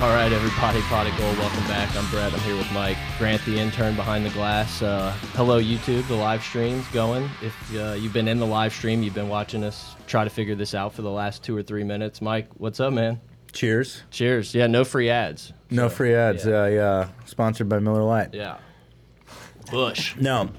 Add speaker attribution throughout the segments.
Speaker 1: All right, everybody, Pot of Gold, welcome back. I'm Brett. I'm here with Mike Grant, the intern behind the glass. Uh, hello, YouTube. The live stream's going. If uh, you've been in the live stream, you've been watching us try to figure this out for the last two or three minutes. Mike, what's up, man?
Speaker 2: Cheers.
Speaker 1: Cheers. Yeah, no free ads.
Speaker 2: No free ads.
Speaker 1: yeah.
Speaker 2: Uh, yeah. Sponsored by Miller Lite.
Speaker 1: Yeah. Bush.
Speaker 2: No.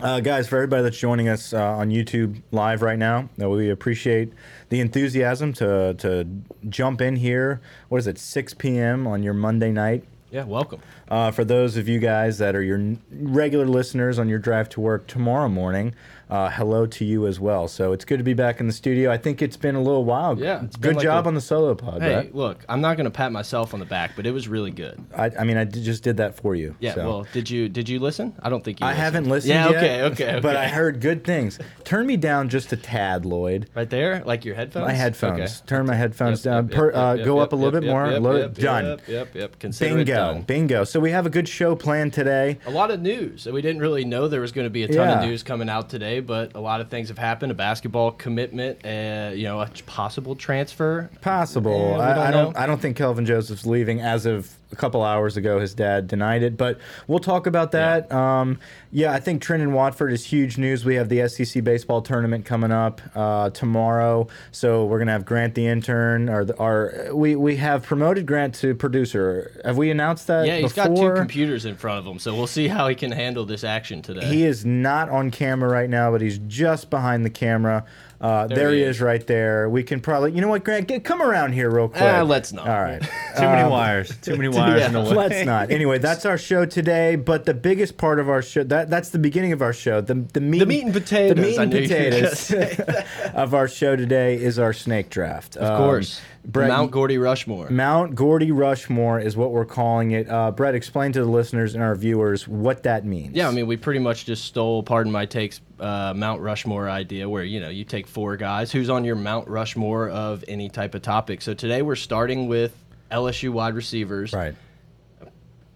Speaker 2: Uh, guys, for everybody that's joining us uh, on YouTube live right now, uh, we appreciate the enthusiasm to, to jump in here. What is it, 6 p.m. on your Monday night?
Speaker 1: Yeah, welcome.
Speaker 2: Uh, for those of you guys that are your n- regular listeners on your drive to work tomorrow morning, uh, hello to you as well. So it's good to be back in the studio. I think it's been a little while.
Speaker 1: Yeah, it's been
Speaker 2: good
Speaker 1: like
Speaker 2: job
Speaker 1: a-
Speaker 2: on the solo pod.
Speaker 1: Hey,
Speaker 2: Brett.
Speaker 1: look, I'm not going to pat myself on the back, but it was really good.
Speaker 2: I, I mean, I d- just did that for you.
Speaker 1: Yeah.
Speaker 2: so.
Speaker 1: Well, did you did you listen? I don't think you.
Speaker 2: I
Speaker 1: listened.
Speaker 2: haven't listened.
Speaker 1: Yeah.
Speaker 2: yet,
Speaker 1: Okay. Okay. okay.
Speaker 2: But I heard good things. Turn me down just a tad, Lloyd.
Speaker 1: right there, like your headphones.
Speaker 2: My headphones. Turn my headphones down.
Speaker 1: Yep,
Speaker 2: Per-
Speaker 1: yep,
Speaker 2: uh,
Speaker 1: yep,
Speaker 2: go
Speaker 1: yep,
Speaker 2: up a little
Speaker 1: yep,
Speaker 2: bit
Speaker 1: yep,
Speaker 2: more.
Speaker 1: Yep,
Speaker 2: Load-
Speaker 1: yep,
Speaker 2: done.
Speaker 1: Yep. Yep. Yep. Consider it
Speaker 2: Bingo.
Speaker 1: done.
Speaker 2: Bingo. So we have a good show planned today.
Speaker 1: A lot of news. We didn't really know there was going to be a ton of
Speaker 2: Yeah.
Speaker 1: news coming out today, but a lot of things have happened. A basketball commitment, uh, you know, a possible transfer.
Speaker 2: Possible.
Speaker 1: Yeah, we
Speaker 2: I,
Speaker 1: don't
Speaker 2: I don't.
Speaker 1: know.
Speaker 2: I don't think Kelvin Joseph's leaving. As of a couple hours ago, his dad denied it. But we'll talk about that. Yeah, um, yeah I think Trenton Watford is huge news. We have the SEC baseball tournament coming up uh, tomorrow, so we're gonna have Grant the intern. Or the, our we we have promoted Grant to producer. Have we announced that?
Speaker 1: Yeah, he's
Speaker 2: before?
Speaker 1: got two computers in front of him, so we'll see how he can handle this action today.
Speaker 2: He is not on camera right now, but he's just behind the camera. Uh, there, he is. right there. We can probably, you know what, Grant, get, come around here real quick.
Speaker 1: Ah, let's not.
Speaker 2: All right. Um,
Speaker 3: Too many wires. Too many wires
Speaker 1: yeah.
Speaker 3: in the way.
Speaker 2: Let's not. Anyway, that's our show today. But the biggest part of our show that that's the beginning of our show. The the meat,
Speaker 1: The meat and potatoes,
Speaker 2: the meat
Speaker 1: I
Speaker 2: and
Speaker 1: knew you were gonna
Speaker 2: potatoes of our show today is our snake draft. Um,
Speaker 1: of course,
Speaker 2: Brett,
Speaker 1: Mount Gordy Rushmore.
Speaker 2: Mount Gordy Rushmore is what we're calling it. Uh, Brett, explain to the listeners and our viewers what that means.
Speaker 1: Yeah, I mean, we pretty much just stole, pardon my takes, uh, Mount Rushmore idea, where you know you take four guys. Who's on your Mount Rushmore of any type of topic? So today we're starting with LSU wide receivers.
Speaker 2: right.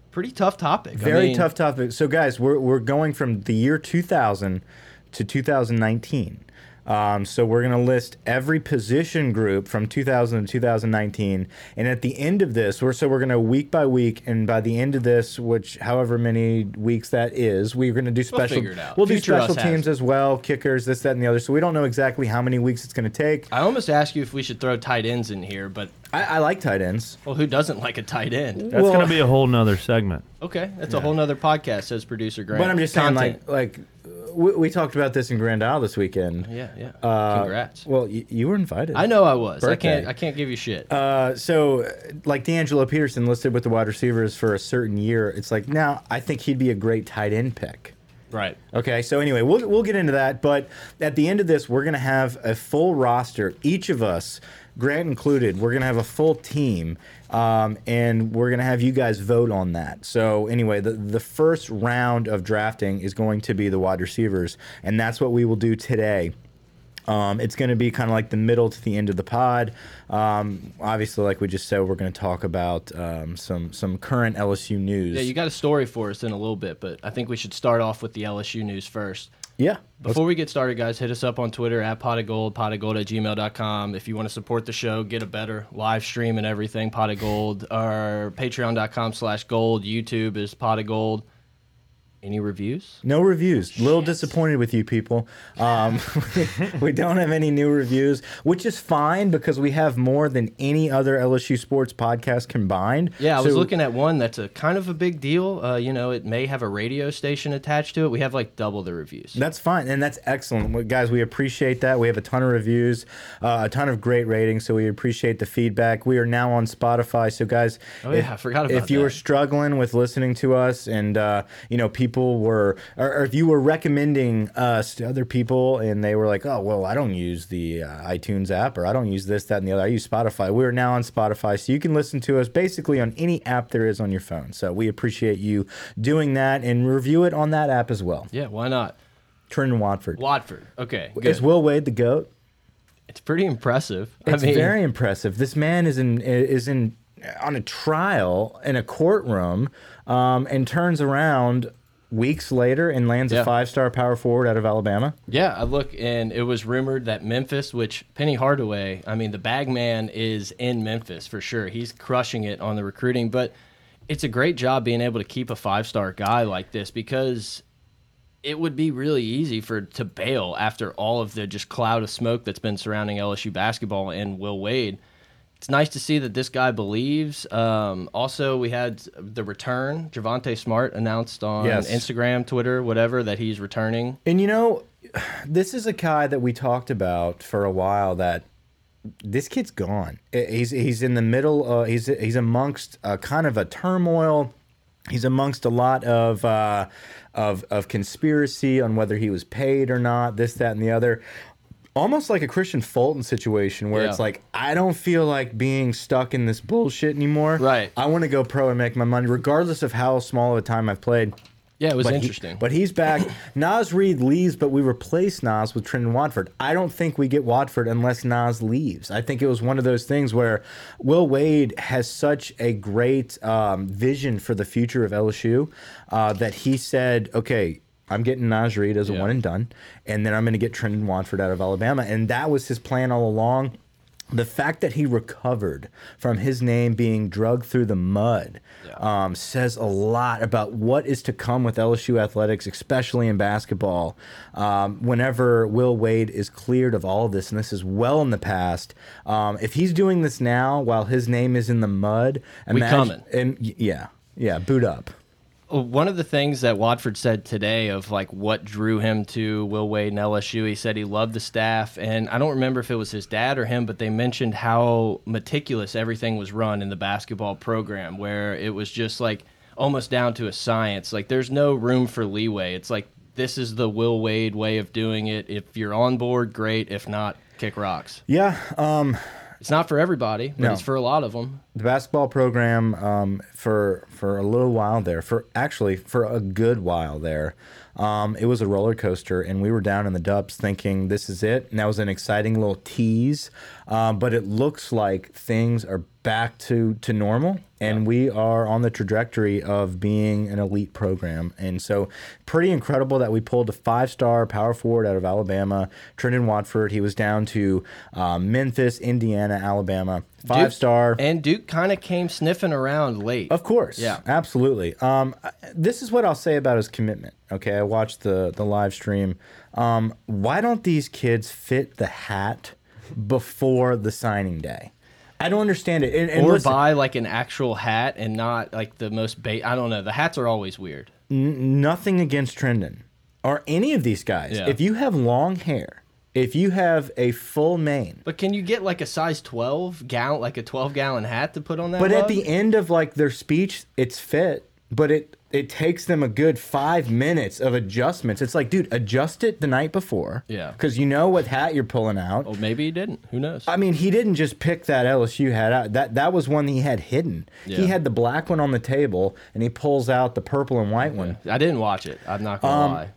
Speaker 1: Pretty tough topic. I
Speaker 2: Very
Speaker 1: mean,
Speaker 2: tough topic. So, guys, we're, we're going from the year 2000 to 2019. Um, so, we're going to list every position group from 2000 to 2019. And at the end of this, we're so we're going to week by week. And by the end of this, which however many weeks that is, we're going to do special.
Speaker 1: figure it out.
Speaker 2: do
Speaker 1: Future us
Speaker 2: special
Speaker 1: has
Speaker 2: teams
Speaker 1: it.
Speaker 2: as well, kickers, this, that, and the other. So, we don't know exactly how many weeks it's going to take.
Speaker 1: I almost asked you if we should throw tight ends in here, but
Speaker 2: I, I like tight ends.
Speaker 1: well, who doesn't like a tight end?
Speaker 4: That's
Speaker 2: Well-
Speaker 4: going to be a whole nother segment.
Speaker 1: Okay, that's a whole nother podcast, says producer Grant.
Speaker 2: But I'm just saying,
Speaker 1: Content.
Speaker 2: like, like uh, we, we talked about this in Grand Isle this weekend.
Speaker 1: yeah, yeah.
Speaker 2: Uh,
Speaker 1: Congrats.
Speaker 2: Well, y you were invited.
Speaker 1: I know I was. I can't.
Speaker 2: birthday.
Speaker 1: I can't give you shit.
Speaker 2: Uh, so, uh, like D'Angelo Peterson listed with the wide receivers for a certain year, it's like now I think he'd be a great tight end pick.
Speaker 1: right.
Speaker 2: Okay, so anyway, we'll we'll get into that, but at the end of this, we're gonna have a full roster, each of us, Grant included. We're gonna have a full team, um, and we're gonna have you guys vote on that. So anyway, the the first round of drafting is going to be the wide receivers, and that's what we will do today. Um, it's going to be kind of like the middle to the end of the pod. Um, obviously, like we just said, we're going to talk about um, some some current LSU news.
Speaker 1: Yeah, you got a story for us in a little bit, but I think we should start off with the LSU news first.
Speaker 2: yeah.
Speaker 1: Before we get started, guys, hit us up on Twitter at pot of gold, pot of gold at gmail.com. If you want to support the show, get a better live stream and everything, pot of gold, or patreon.com slash gold. YouTube is pot of gold. Any reviews?
Speaker 2: No reviews. Little disappointed with you people. Um, we don't have any new reviews, which is fine because we have more than any other LSU sports podcast combined.
Speaker 1: Yeah, I was
Speaker 2: So-
Speaker 1: looking at one that's a kind of a big deal. Uh, you know, it may have a radio station attached to it. We have like double the reviews.
Speaker 2: That's fine, and that's excellent, Well, guys. We appreciate that. We have a ton of reviews, uh, a ton of great ratings, so we appreciate the feedback. We are now on Spotify, so guys,
Speaker 1: Oh, yeah, I forgot about
Speaker 2: if you
Speaker 1: that.
Speaker 2: were struggling with listening to us, and uh, you know people were, or, or if you were recommending us to other people, and they were like, "Oh, well, I don't use the uh, iTunes app, or I don't use this, that, and the other. I use Spotify." We are now on Spotify, so you can listen to us basically on any app there is on your phone. So we appreciate you doing that, and review it on that app as well.
Speaker 1: Yeah, why not?
Speaker 2: Trenton Watford.
Speaker 1: Watford. Okay, good.
Speaker 2: Is Will Wade the goat?
Speaker 1: It's pretty impressive.
Speaker 2: It's
Speaker 1: I mean,
Speaker 2: very impressive. This man is in is in on a trial in a courtroom, um, and turns around weeks later and lands
Speaker 1: Yeah.
Speaker 2: a five star power forward out of Alabama.
Speaker 1: yeah, I look and it was rumored that Memphis, which Penny Hardaway, I mean, the bag man is in Memphis for sure. He's crushing it on the recruiting, but it's a great job being able to keep a five star guy like this because it would be really easy for to bail after all of the just cloud of smoke that's been surrounding LSU basketball and Will Wade. It's nice to see that this guy believes. Um, also, we had the return. Javante Smart announced on
Speaker 2: Yes.
Speaker 1: Instagram, Twitter, whatever, that he's returning.
Speaker 2: And you know, this is a guy that we talked about for a while. That this kid's gone. I- He's he's in the middle. Uh, he's he's amongst uh, kind of a turmoil. He's amongst a lot of uh, of of conspiracy on whether he was paid or not. This, that, and the other. Almost like a Christian Fulton situation where
Speaker 1: Yeah.
Speaker 2: it's like I don't feel like being stuck in this bullshit anymore.
Speaker 1: Right.
Speaker 2: I want to go pro and make my money, regardless of how small of a time I've played.
Speaker 1: Yeah, it was
Speaker 2: But he-
Speaker 1: interesting.
Speaker 2: but he's back. Nas Reed leaves, but we replace Nas with Trenton Watford. I don't think we get Watford unless Nas leaves. I think it was one of those things where Will Wade has such a great um, vision for the future of LSU uh, that he said, okay. I'm getting Nas Reed as a
Speaker 1: Yeah.
Speaker 2: one and done, and then I'm going to get Trenton Watford out of Alabama, and that was his plan all along. The fact that he recovered from his name being drugged through the mud um, says a lot about what is to come with LSU athletics, especially in basketball. Um, whenever Will Wade is cleared of all of this, and this is well in the past, um, if he's doing this now while his name is in the mud,
Speaker 1: We
Speaker 2: imagine-
Speaker 1: coming.
Speaker 2: And, y- yeah, yeah, boot up.
Speaker 1: One of the things that Watford said today of like what drew him to Will Wade and LSU, he said he loved the staff, and I don't remember if it was his dad or him, but they mentioned how meticulous everything was run in the basketball program, where it was just like almost down to a science. Like there's no room for leeway. It's like this is the Will Wade way of doing it. If you're on board, great. If not, kick rocks.
Speaker 2: Yeah, um,
Speaker 1: It's not for everybody, but
Speaker 2: No.
Speaker 1: it's for a lot of them.
Speaker 2: the basketball program um, for for a little while there, for actually for a good while there, um, it was a roller coaster, and we were down in the dubs thinking this is it, and that was an exciting little tease, um, but it looks like things are back to to normal, and we are on the trajectory of being an elite program, and so pretty incredible that we pulled a five star power forward out of Alabama, Trenton Watford. He was down to uh, Memphis, Indiana, Alabama, five
Speaker 1: Duke-
Speaker 2: star.
Speaker 1: And Duke kind of came sniffing around late.
Speaker 2: Of course.
Speaker 1: Yeah.
Speaker 2: Absolutely. Um, I- this is what I'll say about his commitment. Okay. I watched the the live stream. Um, why don't these kids fit the hat before the signing day? I don't understand it. And, and
Speaker 1: or
Speaker 2: listen,
Speaker 1: buy like an actual hat and not like the most ba I don't know. The hats are always weird.
Speaker 2: nothing against Trendon or any of these guys.
Speaker 1: Yeah.
Speaker 2: If you have long hair, if you have a full mane,
Speaker 1: But can you get like a size 12 gallon, like a 12 gallon hat to put on that?
Speaker 2: But at
Speaker 1: mug?
Speaker 2: the end of like their speech, it's fit, but it it takes them a good five minutes of adjustments. It's like, dude, adjust it the night before.
Speaker 1: Yeah. Oh.
Speaker 2: Because you know what hat you're pulling out.
Speaker 1: well, maybe he didn't. Who knows?
Speaker 2: I mean, he didn't just pick that LSU hat out. That that was one he had hidden.
Speaker 1: Yeah.
Speaker 2: He had the black one on the table, and he pulls out the purple and white one.
Speaker 1: I didn't watch it. I'm not gonna
Speaker 2: Um,
Speaker 1: lie.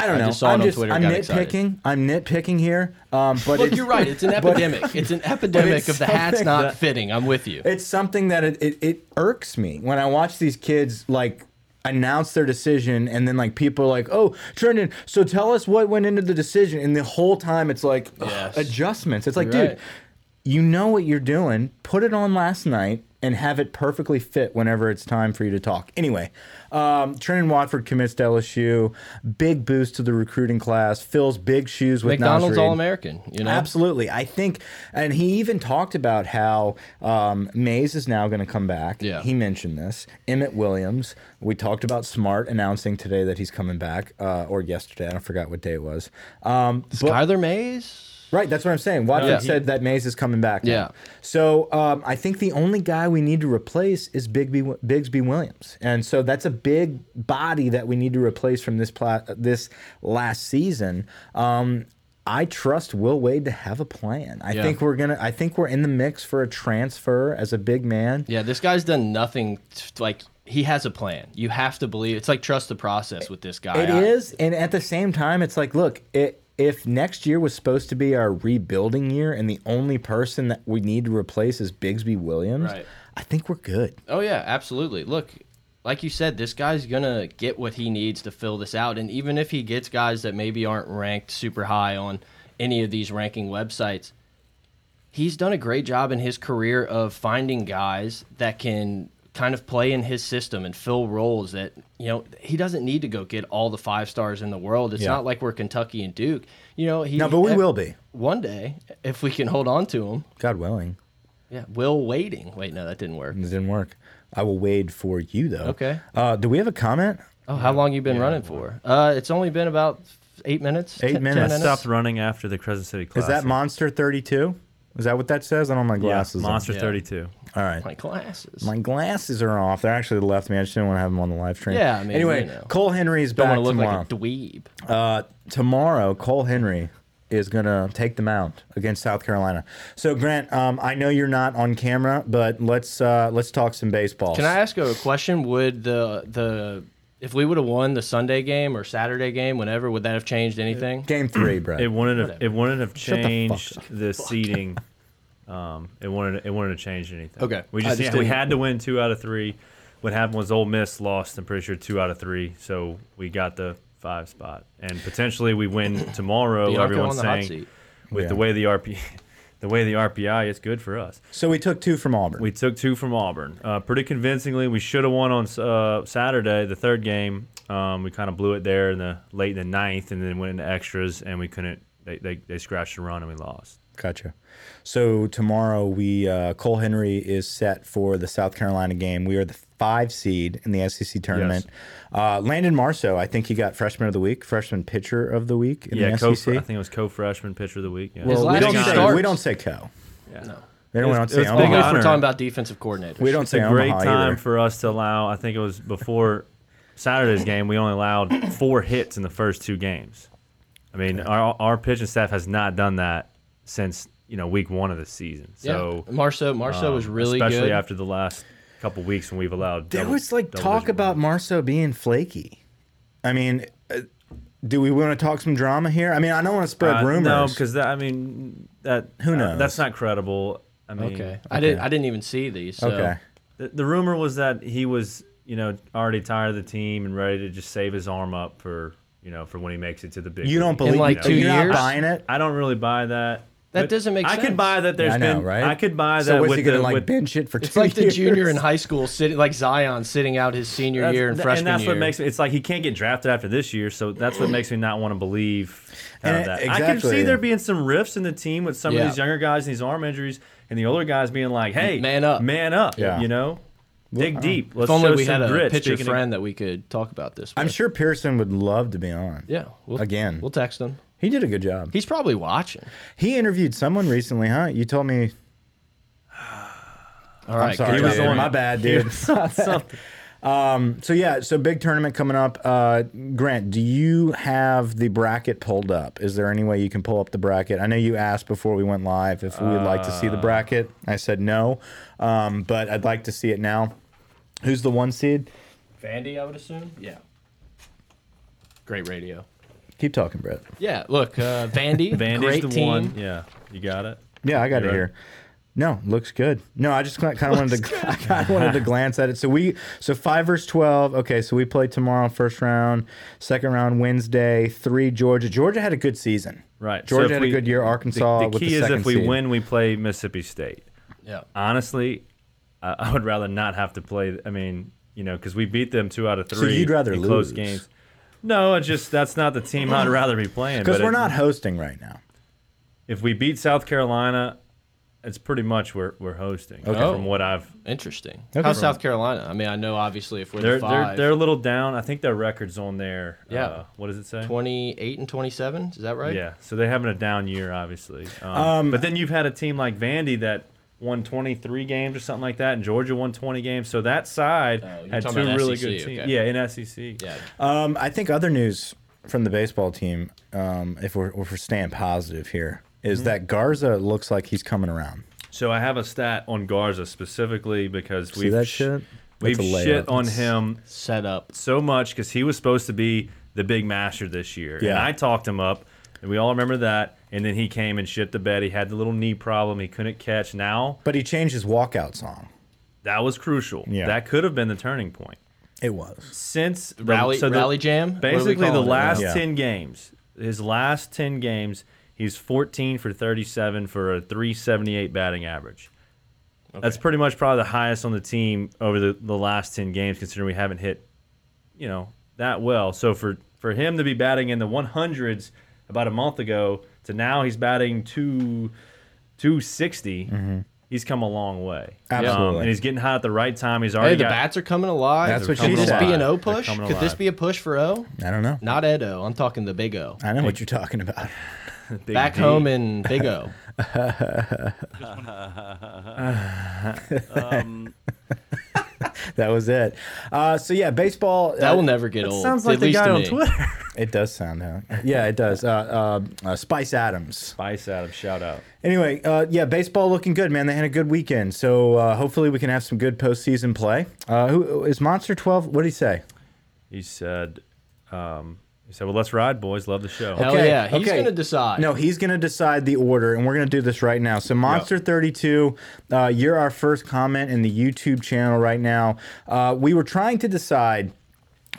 Speaker 2: I don't know.
Speaker 1: just saw it
Speaker 2: I'm
Speaker 1: on
Speaker 2: just
Speaker 1: Twitter,
Speaker 2: I'm
Speaker 1: got
Speaker 2: nitpicking.
Speaker 1: excited.
Speaker 2: I'm nitpicking here. Um, but
Speaker 1: Look,
Speaker 2: it's-
Speaker 1: you're right. It's an
Speaker 2: but-
Speaker 1: epidemic. it's an epidemic
Speaker 2: it's
Speaker 1: of the hats
Speaker 2: something
Speaker 1: not
Speaker 2: that-
Speaker 1: fitting. I'm with you.
Speaker 2: it's something that it, it, it irks me when I watch these kids like announce their decision and then like people are like, oh, Trenton, so tell us what went into the decision. And the whole time it's like ugh,
Speaker 1: Yes.
Speaker 2: adjustments. It's like,
Speaker 1: You're
Speaker 2: dude,
Speaker 1: right.
Speaker 2: You know what you're doing. Put it on last night and have it perfectly fit whenever it's time for you to talk. Anyway, um, Trenton Watford commits to LSU. Big boost to the recruiting class. Fills big shoes with Nas
Speaker 1: McDonald's
Speaker 2: Reed.
Speaker 1: All American. You know,
Speaker 2: Absolutely. I think, and he even talked about how um, Mays is now going to come back.
Speaker 1: Yeah.
Speaker 2: He mentioned this. Emmett Williams. We talked about Smart announcing today that he's coming back, uh, or yesterday. I don't forgot what day it was. Um, but-
Speaker 1: Skyler Mays.
Speaker 2: right. That's what I'm saying. Watford
Speaker 1: Yeah.
Speaker 2: said that Mays is coming back. now.
Speaker 1: Yeah.
Speaker 2: So um, I think the only guy we need to replace is Bigby Bigsby Williams, and so that's a big body that we need to replace from this pla- this last season. Um, I trust Will Wade to have a plan. I
Speaker 1: Yeah.
Speaker 2: think we're gonna. I think we're in the mix for a transfer as a big man.
Speaker 1: Yeah, this guy's done nothing. t- Like he has a plan. You have to believe. It's like trust the process with this guy.
Speaker 2: It is,
Speaker 1: I-
Speaker 2: and at the same time, it's like, look, it, if next year was supposed to be our rebuilding year, and the only person that we need to replace is Bigsby Williams,
Speaker 1: Right.
Speaker 2: I think we're good.
Speaker 1: Oh yeah, absolutely. Look, like you said, this guy's gonna get what he needs to fill this out, and even if he gets guys that maybe aren't ranked super high on any of these ranking websites, he's done a great job in his career of finding guys that can kind of play in his system and fill roles that you know he doesn't need to go get all the five stars in the world. It's
Speaker 2: Yeah.
Speaker 1: not like we're Kentucky and Duke, you know. He, eh,
Speaker 2: No, but we will be.
Speaker 1: one day if we can hold on to him.
Speaker 2: God willing,
Speaker 1: Yeah, will waiting. Wait, no, that didn't work.
Speaker 2: it didn't work. I will wade for you though.
Speaker 1: Okay.
Speaker 2: Uh, do we have a comment?
Speaker 1: Oh, how long you been running for? Uh, it's only been about eight minutes.
Speaker 2: Eight
Speaker 1: ten- ten
Speaker 2: minutes.
Speaker 3: I stopped running after the Crescent City
Speaker 2: Is
Speaker 3: Classic.
Speaker 2: that Monster Thirty Two? Is that what that says? I don't have my
Speaker 3: Yeah,
Speaker 2: glasses. on.
Speaker 3: Monster
Speaker 1: Yeah.
Speaker 3: 32.
Speaker 2: All right.
Speaker 1: My glasses.
Speaker 2: My glasses are off. They're actually left me. I just didn't want to have them on the live stream.
Speaker 1: Yeah, I mean,
Speaker 2: anyway,
Speaker 1: you know.
Speaker 2: Cole Henry's
Speaker 1: Don't
Speaker 2: back
Speaker 1: want to look
Speaker 2: tomorrow.
Speaker 1: like a dweeb.
Speaker 2: Uh, tomorrow, Cole Henry is going to take the mound against South Carolina. So, Grant, um, I know you're not on camera, but let's uh, let's talk some baseball.
Speaker 1: Can I ask you a question? Would the the if we would have won the Sunday game or Saturday game, whenever, would that have changed anything?
Speaker 2: Game three, bro.
Speaker 3: It wouldn't have, it wouldn't have
Speaker 2: the fuck
Speaker 3: changed the, seating. Um, it wouldn't it wouldn't have changed anything.
Speaker 1: Okay.
Speaker 3: We
Speaker 1: I
Speaker 3: just,
Speaker 1: just
Speaker 3: yeah, we
Speaker 1: didn't-
Speaker 3: had to win two out of three. What happened was Ole Miss lost. I'm pretty sure two out of three. So we got the five spot, and potentially we win tomorrow.
Speaker 1: Bianco on
Speaker 3: everyone's
Speaker 1: the hot
Speaker 3: saying
Speaker 1: seat.
Speaker 3: with
Speaker 2: Yeah.
Speaker 3: the way the RP, the way the RPI is good for us.
Speaker 2: so we took two from Auburn.
Speaker 3: We took two from Auburn, uh, pretty convincingly. We should have won on uh, Saturday, the third game. Um, we kind of blew it there in the late in the ninth, and then went into extras, and we couldn't. They, they, they scratched and run, and we lost.
Speaker 2: Gotcha. So tomorrow we uh, Cole Henry is set for the South Carolina game. We are the five seed in the SEC tournament. Uh, Landon Marceau, I think he got freshman of the week, freshman pitcher of the week in
Speaker 3: Yeah,
Speaker 2: the
Speaker 3: co I
Speaker 2: SEC.
Speaker 3: think it was co freshman pitcher of the week. Yeah.
Speaker 1: His
Speaker 2: Well, we
Speaker 1: last
Speaker 2: don't
Speaker 1: two
Speaker 2: say
Speaker 1: starts- Oh,
Speaker 2: we don't say co.
Speaker 3: yeah.
Speaker 2: We don't,
Speaker 3: It was-
Speaker 2: we don't
Speaker 3: it
Speaker 2: say
Speaker 1: Big
Speaker 3: was big
Speaker 1: if
Speaker 2: Omaha.
Speaker 3: honor.
Speaker 1: we're talking about defensive coordinators.
Speaker 2: We don't
Speaker 3: It's
Speaker 2: say
Speaker 3: a great
Speaker 2: Omaha
Speaker 3: time
Speaker 2: either.
Speaker 3: for us to allow. I think it was before Saturday's game. We only allowed four hits in the first two games. I mean, our our pitching staff has not done that since you know week one of the season.
Speaker 1: Yeah.
Speaker 3: So
Speaker 1: Marceau, Marceau was
Speaker 3: um,
Speaker 1: really
Speaker 3: especially
Speaker 1: good.
Speaker 3: after the last couple weeks when we've allowed.
Speaker 2: There
Speaker 3: double-
Speaker 2: was like
Speaker 3: double
Speaker 2: talk
Speaker 3: digit
Speaker 2: about
Speaker 3: runs.
Speaker 2: Marceau being flaky. I mean, uh, do we want to talk some drama here? I mean, I don't want to spread
Speaker 3: Uh,
Speaker 2: rumors.
Speaker 3: No, because that I mean that
Speaker 2: Who
Speaker 3: uh,
Speaker 2: knows?
Speaker 3: that's not credible. I mean,
Speaker 1: okay. I didn't. I didn't even see these. So.
Speaker 2: okay,
Speaker 3: The, the rumor was that he was, you know, already tired of the team and ready to just save his arm up for, you know, for when he makes it to the big.
Speaker 2: you don't
Speaker 3: league.
Speaker 2: believe
Speaker 1: like two
Speaker 2: you're
Speaker 1: years?
Speaker 2: not buying it.
Speaker 3: I don't really buy that.
Speaker 1: That
Speaker 3: But
Speaker 1: doesn't make
Speaker 3: I
Speaker 1: sense.
Speaker 3: could buy that. There's
Speaker 2: I know,
Speaker 3: been.
Speaker 2: right?
Speaker 3: I could buy
Speaker 2: So
Speaker 3: that
Speaker 2: what's
Speaker 3: with
Speaker 2: he going
Speaker 3: the
Speaker 2: to like
Speaker 3: with,
Speaker 2: bench it for two
Speaker 1: It's like the
Speaker 2: years?
Speaker 1: junior in high school sitting, like Zion sitting out his senior
Speaker 3: that's-
Speaker 1: year and
Speaker 3: th-
Speaker 1: freshman
Speaker 3: and that's
Speaker 1: year.
Speaker 3: what makes me. It's like he can't get drafted after this year, so that's what makes me not want to believe. kind of
Speaker 2: And
Speaker 3: that.
Speaker 2: it-
Speaker 3: I can see
Speaker 2: exactly.
Speaker 3: there being some rifts in the team with some
Speaker 1: Yeah.
Speaker 3: of these younger guys and these arm injuries, and the older guys being like, "Hey,
Speaker 1: Man up. uh,
Speaker 3: man up,"
Speaker 2: Yeah.
Speaker 3: you know, dig deep. Let's
Speaker 1: if only
Speaker 3: show
Speaker 1: we
Speaker 3: some
Speaker 1: had a
Speaker 3: grit.
Speaker 1: pitcher
Speaker 3: Speaking of-
Speaker 1: friend that we could talk about this.
Speaker 2: I'm
Speaker 1: with.
Speaker 2: sure Pearson would love to be on.
Speaker 1: Yeah. We'll,
Speaker 2: Again.
Speaker 1: we'll text him.
Speaker 2: He did a good job.
Speaker 1: He's probably watching.
Speaker 2: He interviewed someone recently, huh? You told me.
Speaker 1: All right,
Speaker 2: I'm sorry,
Speaker 1: good
Speaker 3: was
Speaker 2: dude.
Speaker 1: job.
Speaker 3: on-
Speaker 2: my bad, dude.
Speaker 3: something.
Speaker 2: um, so yeah, so big tournament coming up. Uh, Grant, do you have the bracket pulled up? Is there any way you can pull up the bracket? I know you asked before we went live if we would like to see the bracket. I said no, um, but I'd like to see it now. Who's the one seed?
Speaker 1: Vandy, I would assume. Yeah. Great radio.
Speaker 2: Keep talking, Brett.
Speaker 1: Yeah. Look, uh, Vandy.
Speaker 3: Vandy's
Speaker 1: great
Speaker 3: the
Speaker 1: team.
Speaker 3: one. Yeah, you got it.
Speaker 2: Yeah, I got
Speaker 3: You're
Speaker 2: it here. No, looks good. No, I just kind of wanted to. I kind of wanted to glance at it. So we so five versus twelve. Okay, so we play tomorrow, first round, second round Wednesday. Three Georgia. Georgia had a good season.
Speaker 3: Right. So
Speaker 2: Georgia
Speaker 3: if
Speaker 2: had
Speaker 3: we-
Speaker 2: a good year.
Speaker 1: Oh,
Speaker 2: Arkansas.
Speaker 3: The, the
Speaker 2: with
Speaker 3: key is
Speaker 2: second
Speaker 3: if we
Speaker 2: seed.
Speaker 3: win, we play Mississippi State.
Speaker 1: Yeah.
Speaker 3: Honestly, I, I would rather not have to play. I mean, you know, because we beat them two out of three.
Speaker 2: you'd rather
Speaker 3: in close
Speaker 2: lose?
Speaker 3: games. No, it's just that's not the team I'd rather be playing.
Speaker 2: because
Speaker 3: but
Speaker 2: we're
Speaker 3: it-
Speaker 2: not hosting right now.
Speaker 3: If we beat South Carolina, it's pretty much we're we're hosting.
Speaker 1: Oh.
Speaker 3: From what I've
Speaker 1: Interesting.
Speaker 2: Okay.
Speaker 1: How's South Carolina? I mean, I know obviously if we're
Speaker 3: they're
Speaker 1: the
Speaker 3: they're
Speaker 1: 5
Speaker 3: they're a little down. I think their records on there.
Speaker 1: Yeah.
Speaker 3: Uh, what does it say?
Speaker 1: 28 and 27. Is that right?
Speaker 3: Yeah, so they're having a down year, obviously. Um, but then you've had a team like Vandy that won 23 games or something like that, and Georgia won 20 games. So that side
Speaker 1: Oh, you're
Speaker 3: had two
Speaker 1: talking about
Speaker 3: really
Speaker 1: SEC,
Speaker 3: good teams.
Speaker 1: okay.
Speaker 3: Yeah, in E SEC.
Speaker 1: Yeah.
Speaker 2: Um, I think other news from the baseball team, um, if we're if we're staying positive here,
Speaker 3: Mm-hmm.
Speaker 2: is that Garza looks like he's coming around.
Speaker 3: So I have a stat on Garza specifically because
Speaker 2: See
Speaker 3: we've
Speaker 2: that
Speaker 3: sh-
Speaker 2: shit?
Speaker 3: We've
Speaker 2: That's a layup.
Speaker 3: shit on
Speaker 2: That's-
Speaker 3: him
Speaker 1: Set up.
Speaker 3: so much because he was supposed to be the big master this year. And
Speaker 2: Yeah.
Speaker 3: I talked him up, and we all remember that. And then he came and shit the bed. He had the little knee problem. He couldn't catch. Now
Speaker 2: But he changed his walkout song.
Speaker 3: that was crucial.
Speaker 2: Yeah.
Speaker 3: That could have been the turning point.
Speaker 2: It was.
Speaker 3: since the-
Speaker 1: Rally- rally jam? What are we
Speaker 3: Basically, the
Speaker 1: calling it?
Speaker 3: last
Speaker 2: Yeah.
Speaker 3: ten games, his last ten games, he's fourteen for thirty-seven for a three seventy-eight batting average. That's pretty much probably the highest on the team over the, the last ten games, considering we haven't hit, you know, that well. So for for him to be batting in the one hundreds about a month ago to now he's batting two two He's come a long way.
Speaker 2: Absolutely.
Speaker 3: and he's getting hot at the right time. He's
Speaker 1: Hey,
Speaker 3: already
Speaker 1: the
Speaker 3: got
Speaker 1: bats are coming alive.
Speaker 2: That's what
Speaker 1: Could
Speaker 2: she
Speaker 1: this
Speaker 2: said.
Speaker 1: be an O
Speaker 3: They're
Speaker 1: push?
Speaker 3: coming
Speaker 1: Could this
Speaker 3: alive.
Speaker 1: be a push for O?
Speaker 2: I don't know.
Speaker 1: Not Ed O. I'm talking the Big O.
Speaker 2: I know what you're talking about.
Speaker 3: Big
Speaker 1: Back
Speaker 3: D.
Speaker 1: home in Big O.
Speaker 2: That was it. Uh, so yeah, baseball.
Speaker 1: That
Speaker 2: uh,
Speaker 1: will never get old.
Speaker 3: Sounds
Speaker 1: at
Speaker 3: like the
Speaker 1: least
Speaker 3: guy
Speaker 1: to
Speaker 3: on
Speaker 1: me.
Speaker 3: Twitter.
Speaker 2: It does sound out. Yeah, it does. Uh, uh, uh, Spice Adams.
Speaker 3: Spice Adam, shout out.
Speaker 2: Anyway, uh, yeah, baseball looking good, man. They had a good weekend, so uh, hopefully we can have some good postseason play. Uh, who is Monster Twelve? What did he say?
Speaker 3: He said, um, he said, well, let's ride, boys. Love the show.
Speaker 1: Hell
Speaker 2: Okay,
Speaker 1: yeah. He's
Speaker 2: okay.
Speaker 1: going to decide.
Speaker 2: No, he's going to decide the order, and we're going to do this right now. So, Monster 32, uh, you're our first comment in the YouTube channel right now. Uh, we were trying to decide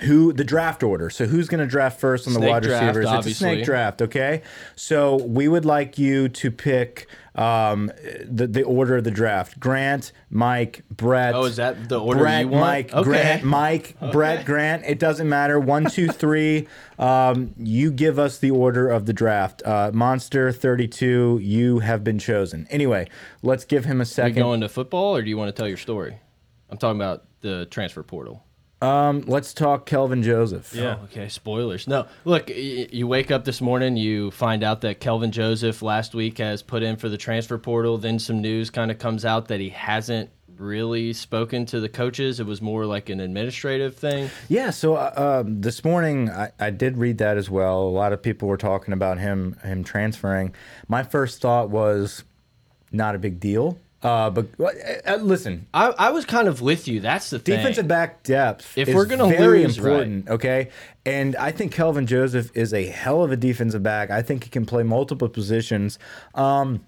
Speaker 2: who the draft order. So, who's going to draft first on the
Speaker 1: Snake
Speaker 2: wide
Speaker 1: draft,
Speaker 2: receivers? It's a
Speaker 1: obviously.
Speaker 2: snake draft, okay? So, we would like you to pick um, the, the order of the draft Grant, Mike, Brett.
Speaker 1: Oh, is that the order
Speaker 2: Brett,
Speaker 1: you want?
Speaker 2: Mike,
Speaker 1: Okay.
Speaker 2: Grant, Mike, Brett, Grant. It doesn't matter. One, two, three. Um, you give us the order of the draft. Uh, Monster thirty-two. You have been chosen. Anyway, let's give him a
Speaker 1: Are you
Speaker 2: second.
Speaker 1: going to football or do you want to tell your story? I'm talking about the transfer portal.
Speaker 2: Um, let's talk Kelvin Joseph.
Speaker 3: Yeah.
Speaker 1: Oh, okay, spoilers. No, look, y- you wake up this morning, you find out that Kelvin Joseph last week has put in for the transfer portal. Then some news kind of comes out that he hasn't really spoken to the coaches. It was more like an administrative thing.
Speaker 2: Yeah, so uh, um, this morning I, I did read that as well. A lot of people were talking about him him transferring. My first thought was not a big deal. Uh, but uh, uh, listen,
Speaker 1: I, I was kind of with you. That's the thing.
Speaker 2: Defensive back depth.
Speaker 1: If
Speaker 2: is
Speaker 1: we're gonna
Speaker 2: very
Speaker 1: lose, right.
Speaker 2: important, okay. And I think Kelvin Joseph is a hell of a defensive back. I think he can play multiple positions. Um,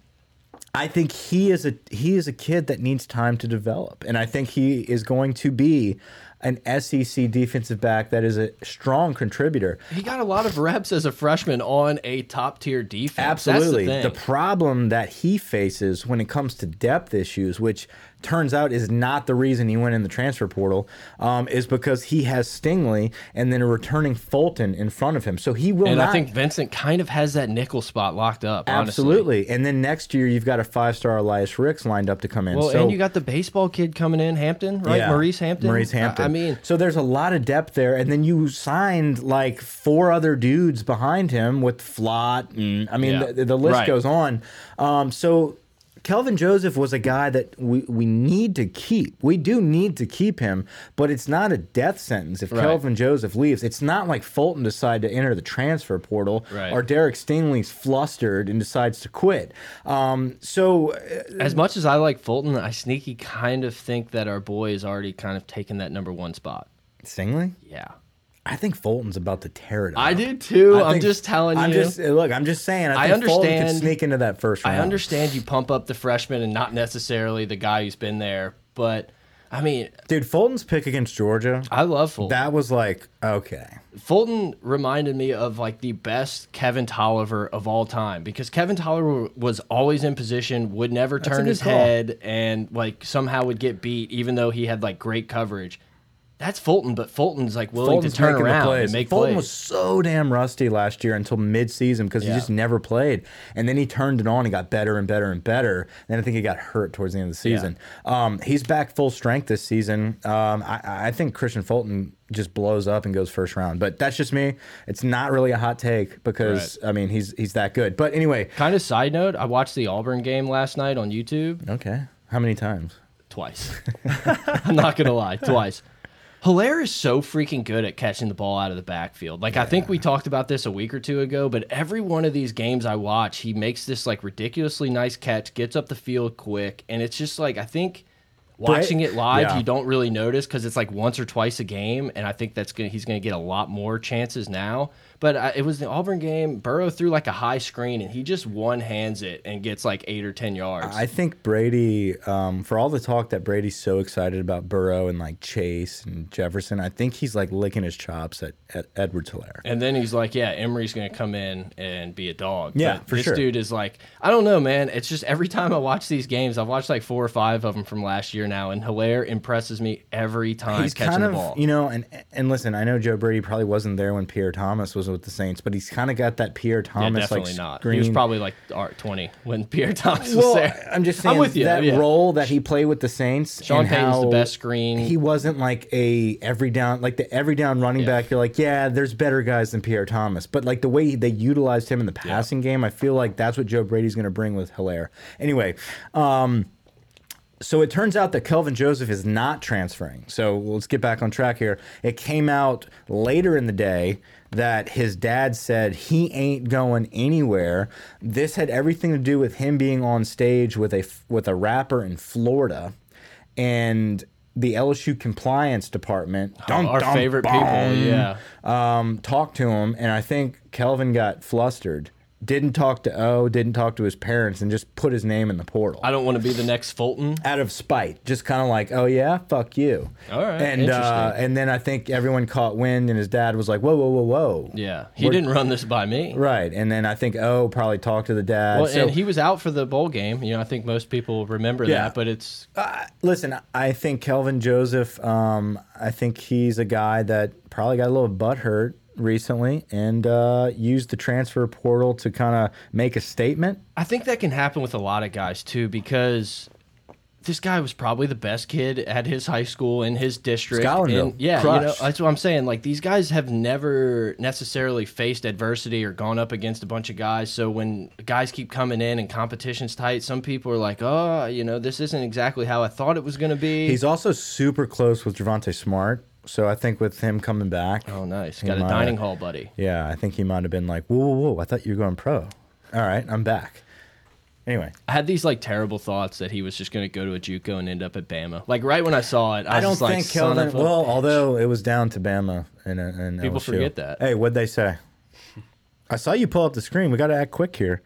Speaker 2: I think he is a he is a kid that needs time to develop, and I think he is going to be an SEC defensive back that is a strong contributor.
Speaker 1: He got a lot of reps as a freshman on a top tier defense. That's the
Speaker 2: Absolutely.
Speaker 1: thing.
Speaker 2: problem that he faces when it comes to depth issues, which turns out is not the reason he went in the transfer portal, um, is because he has Stingley and then a returning Fulton in front of him. So he will
Speaker 1: and
Speaker 2: not.
Speaker 1: I think Vincent kind of has that nickel spot locked up. honestly.
Speaker 2: absolutely. And then next year, you've got a five star Elias Ricks lined up to come in.
Speaker 1: Well,
Speaker 2: so,
Speaker 1: and you got the baseball kid coming in, Hampton, right?
Speaker 2: Yeah.
Speaker 1: Maurice Hampton.
Speaker 2: Maurice
Speaker 1: I-
Speaker 2: Hampton.
Speaker 1: I mean,
Speaker 2: so there's a lot of depth there, and then you signed like four other dudes behind him with Flott, and I mean
Speaker 1: Yeah.
Speaker 2: the, the list
Speaker 1: Right.
Speaker 2: goes on. Um, so Kelvin Joseph was a guy that we we need to keep. We do need to keep him, but it's not a death sentence if
Speaker 1: Right.
Speaker 2: Kelvin Joseph leaves. It's not like Fulton decided to enter the transfer portal
Speaker 1: Right.
Speaker 2: or Derek Stingley's flustered and decides to quit. Um, so
Speaker 1: As much as I like Fulton, I sneaky kind of think that our boy is already kind of taking that number one spot.
Speaker 2: Stingley,
Speaker 1: Yeah.
Speaker 2: I think Fulton's about to tear it up.
Speaker 1: I do too.
Speaker 2: I
Speaker 1: I'm
Speaker 2: think-
Speaker 1: just telling
Speaker 2: I'm
Speaker 1: you.
Speaker 2: just eh, look. I'm just saying. I,
Speaker 1: I
Speaker 2: think Fulton
Speaker 1: understand-
Speaker 2: could sneak into that first round.
Speaker 1: I understand you pump up the freshman and not necessarily the guy who's been there, but I mean,
Speaker 2: Dude, Fulton's pick against Georgia,
Speaker 1: I love Fulton.
Speaker 2: that was like, okay.
Speaker 1: Fulton reminded me of like the best Kevin Tolliver of all time because Kevin Tolliver was always in position, would never
Speaker 2: a
Speaker 1: turn
Speaker 2: good
Speaker 1: his
Speaker 2: call.
Speaker 1: head, and like somehow would get beat, even though he had like great coverage. That's Fulton, but Fulton's like willing
Speaker 2: Fulton's
Speaker 1: to turn
Speaker 2: making the
Speaker 1: around
Speaker 2: plays.
Speaker 1: and make
Speaker 2: Fulton
Speaker 1: plays.
Speaker 2: was so damn rusty last year until midseason because
Speaker 1: Yeah.
Speaker 2: he just never played. And then he turned it on and got better and better and better. Then I think he got hurt towards the end of the season. Um, he's back full strength this season. Um, I, I think Christian Fulton just blows up and goes first round. But that's just me. It's not really a hot take because I mean he's he's that good. But anyway,
Speaker 1: Kind of side note, I watched the Auburn game last night on YouTube
Speaker 2: okay. How many times?
Speaker 1: twice. I'm not gonna lie, twice. Hilaire is so freaking good at catching the ball out of the backfield. Like I think we talked about this a week or two ago, but every one of these games I watch, he makes this like ridiculously nice catch, gets up the field quick, and it's just like I think watching it live,
Speaker 2: yeah.
Speaker 1: you don't really notice because it's like once or twice a game, and I think that's gonna he's gonna get a lot more chances now. But I, it was the Auburn game. Burrow threw like a high screen, and he just one hands it and gets like eight or ten yards.
Speaker 2: I think Brady, um, for all the talk that Brady's so excited about Burrow and like Chase and Jefferson, I think he's like licking his chops at, at Edward Hilaire.
Speaker 1: And then he's like, "Yeah, Emery's gonna come in and be a dog."
Speaker 2: Yeah,
Speaker 1: But
Speaker 2: for
Speaker 1: this
Speaker 2: sure.
Speaker 1: dude is like, I don't know, man. It's just every time I watch these games, I've watched like four or five of them from last year now, and Hilaire impresses me every time
Speaker 2: He's
Speaker 1: uh, catching
Speaker 2: kind of,
Speaker 1: the ball.
Speaker 2: you know, and and listen, I know Joe Brady probably wasn't there when Pierre Thomas was with the Saints, but he's kind of got that Pierre
Speaker 1: yeah,
Speaker 2: Thomas
Speaker 1: definitely
Speaker 2: like
Speaker 1: not.
Speaker 2: screen.
Speaker 1: He was probably like all right, twenty when Pierre Thomas was
Speaker 2: well,
Speaker 1: there.
Speaker 2: I'm just saying
Speaker 1: with you,
Speaker 2: that
Speaker 1: yeah.
Speaker 2: role that he played with the Saints.
Speaker 1: Sean
Speaker 2: and
Speaker 1: Payton's the
Speaker 2: how
Speaker 1: best screen.
Speaker 2: He wasn't like a every down, like the every down running back. You're like, yeah, there's better guys than Pierre Thomas, but like the way they utilized him in the passing game, I feel like that's what Joe Brady's going to bring with Hilaire. Anyway, um, so it turns out that Kelvin Joseph is not transferring. So let's get back on track here. It came out later in the day that his dad said he ain't going anywhere. This had everything to do with him being on stage with a with a rapper in Florida, and the LSU compliance department. dun,
Speaker 1: Oh, Our
Speaker 2: dun,
Speaker 1: favorite
Speaker 2: bum,
Speaker 1: people, yeah.
Speaker 2: um, talked to him, and I think Kelvin got flustered. Didn't talk to O. Didn't talk to his parents, and just put his name in the portal
Speaker 1: I don't want to be the next Fulton.
Speaker 2: out of spite, just kind of like, oh yeah, fuck you.
Speaker 1: All right,
Speaker 2: And uh,
Speaker 1: interesting.
Speaker 2: and then I think everyone caught wind, and his dad was like, whoa, whoa, whoa, whoa.
Speaker 1: Yeah, he didn't run this by me.
Speaker 2: Right. And then I think oh probably talked to the dad.
Speaker 1: Well,
Speaker 2: so,
Speaker 1: and he was out for the bowl game. You know, I think most people remember
Speaker 2: Yeah.
Speaker 1: that, but it's
Speaker 2: uh, listen, I think Kelvin Joseph. Um, I think he's a guy that probably got a little butt hurt recently and uh, used the transfer portal to kind of make a statement.
Speaker 1: I think that can happen with a lot of guys too because this guy was probably the best kid at his high school in his district.
Speaker 2: Schuylerville.
Speaker 1: And, yeah, you know,
Speaker 2: Crushed.
Speaker 1: that's what I'm saying. Like these guys have never necessarily faced adversity or gone up against a bunch of guys. So when guys keep coming in and competition's tight, some people are like, "Oh, you know, this isn't exactly how I thought it was going to be."
Speaker 2: He's also super close with Javante Smart, so I think with him coming back,
Speaker 1: oh, nice.
Speaker 2: he
Speaker 1: Got a
Speaker 2: might-
Speaker 1: dining hall buddy.
Speaker 2: Yeah, I think he might have been like, whoa, whoa, whoa, I thought you were going pro. All right, I'm back. Anyway,
Speaker 1: I had these like terrible thoughts that he was just going to go to a JUCO and end up at Bama. Like right when I saw it, I,
Speaker 2: I
Speaker 1: was
Speaker 2: don't
Speaker 1: just like,
Speaker 2: think
Speaker 1: "Son
Speaker 2: Kelvin.
Speaker 1: of a
Speaker 2: Well,
Speaker 1: bitch."
Speaker 2: although it was down to Bama and, uh, and
Speaker 1: People
Speaker 2: LSU.
Speaker 1: forget that.
Speaker 2: Hey, what'd they say? I saw you pull up the screen. We got to act quick here.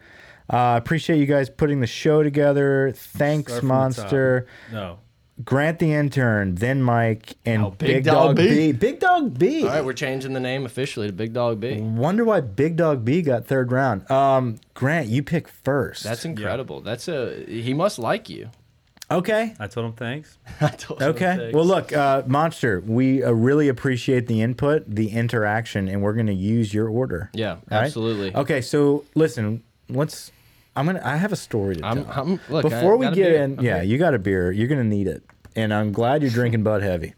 Speaker 2: Uh, appreciate you guys putting the show together. Thanks,
Speaker 3: Start from the
Speaker 2: Monster.
Speaker 3: No.
Speaker 2: Grant the intern, then Mike, and
Speaker 1: Now, Big
Speaker 2: Big,
Speaker 1: Dog
Speaker 2: Dog,
Speaker 1: B.
Speaker 2: B. Big Dog B.
Speaker 1: all right, we're changing the name officially to Big Dog B.
Speaker 2: Wonder why Big Dog B got third round. Um, Grant, you pick first.
Speaker 1: That's incredible. That's a he must like you.
Speaker 2: okay.
Speaker 3: I told him thanks.
Speaker 1: I told you
Speaker 2: Okay.
Speaker 1: that.
Speaker 2: Well, look, uh, Monster, we uh, really appreciate the input, the interaction, and we're going to use your order.
Speaker 1: Yeah,
Speaker 2: All right?
Speaker 1: absolutely.
Speaker 2: Okay. So listen, let's. I'm gonna. I have a story to tell.
Speaker 1: I'm, I'm look I
Speaker 2: Before we
Speaker 1: got a
Speaker 2: get
Speaker 1: beer.
Speaker 2: in, yeah, you got a beer. You're gonna need it, and I'm glad you're drinking Bud Heavy.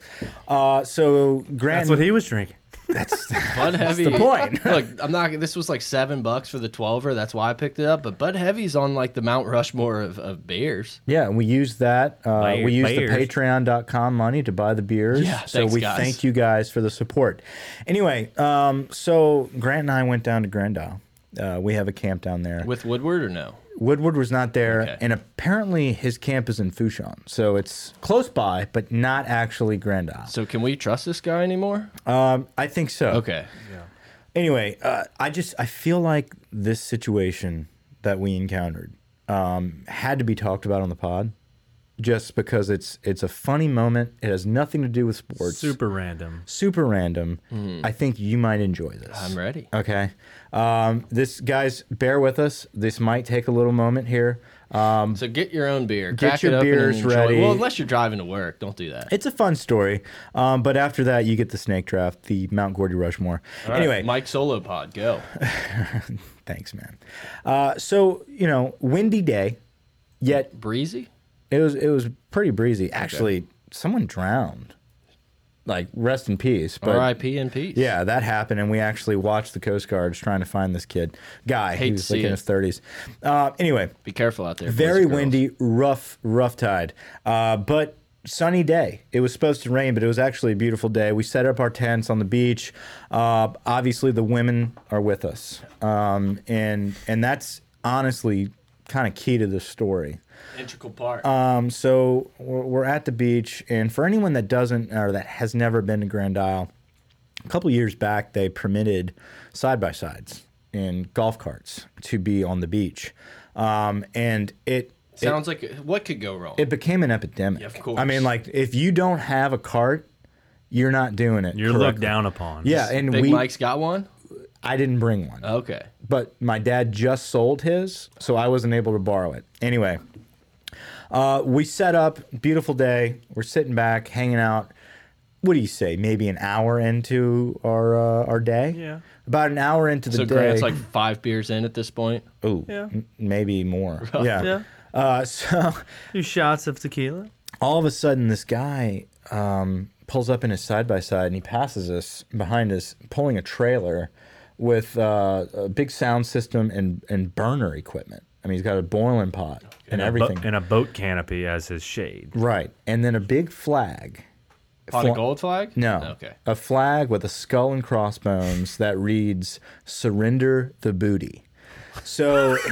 Speaker 2: Uh, so Grant,
Speaker 3: That's what he was drinking.
Speaker 1: Bud Heavy.
Speaker 2: the point.
Speaker 1: look, I'm not. This was like seven bucks for the twelver. That's why I picked it up. But Bud Heavy's on like the Mount Rushmore of, of beers.
Speaker 2: yeah, and we used that. Uh,
Speaker 3: Layer-
Speaker 2: we used the
Speaker 3: layers.
Speaker 2: Patreon.com money to buy the beers.
Speaker 1: Yeah,
Speaker 2: so
Speaker 1: thanks,
Speaker 2: we
Speaker 1: guys.
Speaker 2: thank you guys for the support. Anyway, um, so Grant and I went down to Grandisle. Uh, we have a camp down there.
Speaker 1: With Woodward or no?
Speaker 2: Woodward was not there,
Speaker 1: Okay.
Speaker 2: and apparently his camp is in Fushan, so it's close by, but not actually Grand Isle.
Speaker 1: So can we trust this guy anymore?
Speaker 2: Um, I think so.
Speaker 1: Okay.
Speaker 2: Anyway, uh, I just I feel like this situation that we encountered um, had to be talked about on the pod just because it's it's a funny moment. It has nothing to do with sports.
Speaker 3: Super random.
Speaker 2: super random. I think you might enjoy this.
Speaker 1: I'm ready.
Speaker 2: Okay. Um, this guys, bear with us. This might take a little moment here. Um,
Speaker 1: So get your own beer.
Speaker 2: Get
Speaker 1: crack
Speaker 2: your
Speaker 1: it open and
Speaker 2: beers
Speaker 1: enjoy-
Speaker 2: ready.
Speaker 1: Well, unless you're driving to work, don't do that.
Speaker 2: it's a fun story, um, but after that, you get the snake draft, the Mount Gordy Rushmore. anyway,
Speaker 1: Mike Solo Pod, go.
Speaker 2: thanks, man. Uh, so you know, windy day, yet
Speaker 1: Breezy?
Speaker 2: it was it was pretty breezy. Actually, someone drowned. Like rest in peace. But
Speaker 1: R.I.P. in peace.
Speaker 2: Yeah, that happened, and we actually watched the Coast Guards trying to find this kid guy.
Speaker 1: Hate
Speaker 2: he
Speaker 1: to
Speaker 2: was
Speaker 1: see
Speaker 2: like in
Speaker 1: it.
Speaker 2: his thirties. Uh, anyway,
Speaker 1: Be careful out there. boys
Speaker 2: very
Speaker 1: and girls.
Speaker 2: windy, rough, rough tide, uh, but sunny day. It was supposed to rain, but it was actually a beautiful day. We set up our tents on the beach. Uh, obviously, the women are with us, um, and and that's honestly kind of key to this story.
Speaker 1: Integral part.
Speaker 2: Um, so we're, we're at the beach, and for anyone that doesn't or that has never been to Grand Isle, a couple years back they permitted side by sides in golf carts to be on the beach, um, and it. It,
Speaker 1: Sounds like what could go wrong?
Speaker 2: it became an epidemic.
Speaker 1: Yeah, of course.
Speaker 2: I mean, like if you don't have a cart, you're not doing it.
Speaker 3: You're looked
Speaker 2: correctly.
Speaker 3: down upon.
Speaker 2: Yeah, and
Speaker 1: Big
Speaker 2: we.
Speaker 1: Mike's got one?
Speaker 2: I didn't bring one
Speaker 1: Okay.
Speaker 2: but my dad just sold his, so I wasn't able to borrow it. Anyway, uh, we set up, beautiful day. We're sitting back, hanging out. What do you say? Maybe an hour into our uh, our day.
Speaker 3: Yeah.
Speaker 2: About an hour into the
Speaker 1: So
Speaker 2: day.
Speaker 1: Grant's like five beers in at this point.
Speaker 2: Ooh,
Speaker 3: Yeah.
Speaker 2: m- maybe more. Yeah.
Speaker 3: Yeah.
Speaker 2: Uh, so
Speaker 3: Two shots of tequila.
Speaker 2: all of a sudden, this guy um, pulls up in his side by side and he passes us behind us, pulling a trailer with uh, a big sound system and, and burner equipment. I mean, he's got a boiling pot and,
Speaker 3: a bo-
Speaker 2: everything.
Speaker 3: and a boat canopy as his shade.
Speaker 2: right. And then a big flag.
Speaker 1: On
Speaker 2: Fla-
Speaker 1: a gold flag?
Speaker 2: No.
Speaker 1: Okay.
Speaker 2: A flag with a skull and crossbones that reads, Surrender the Booty. So.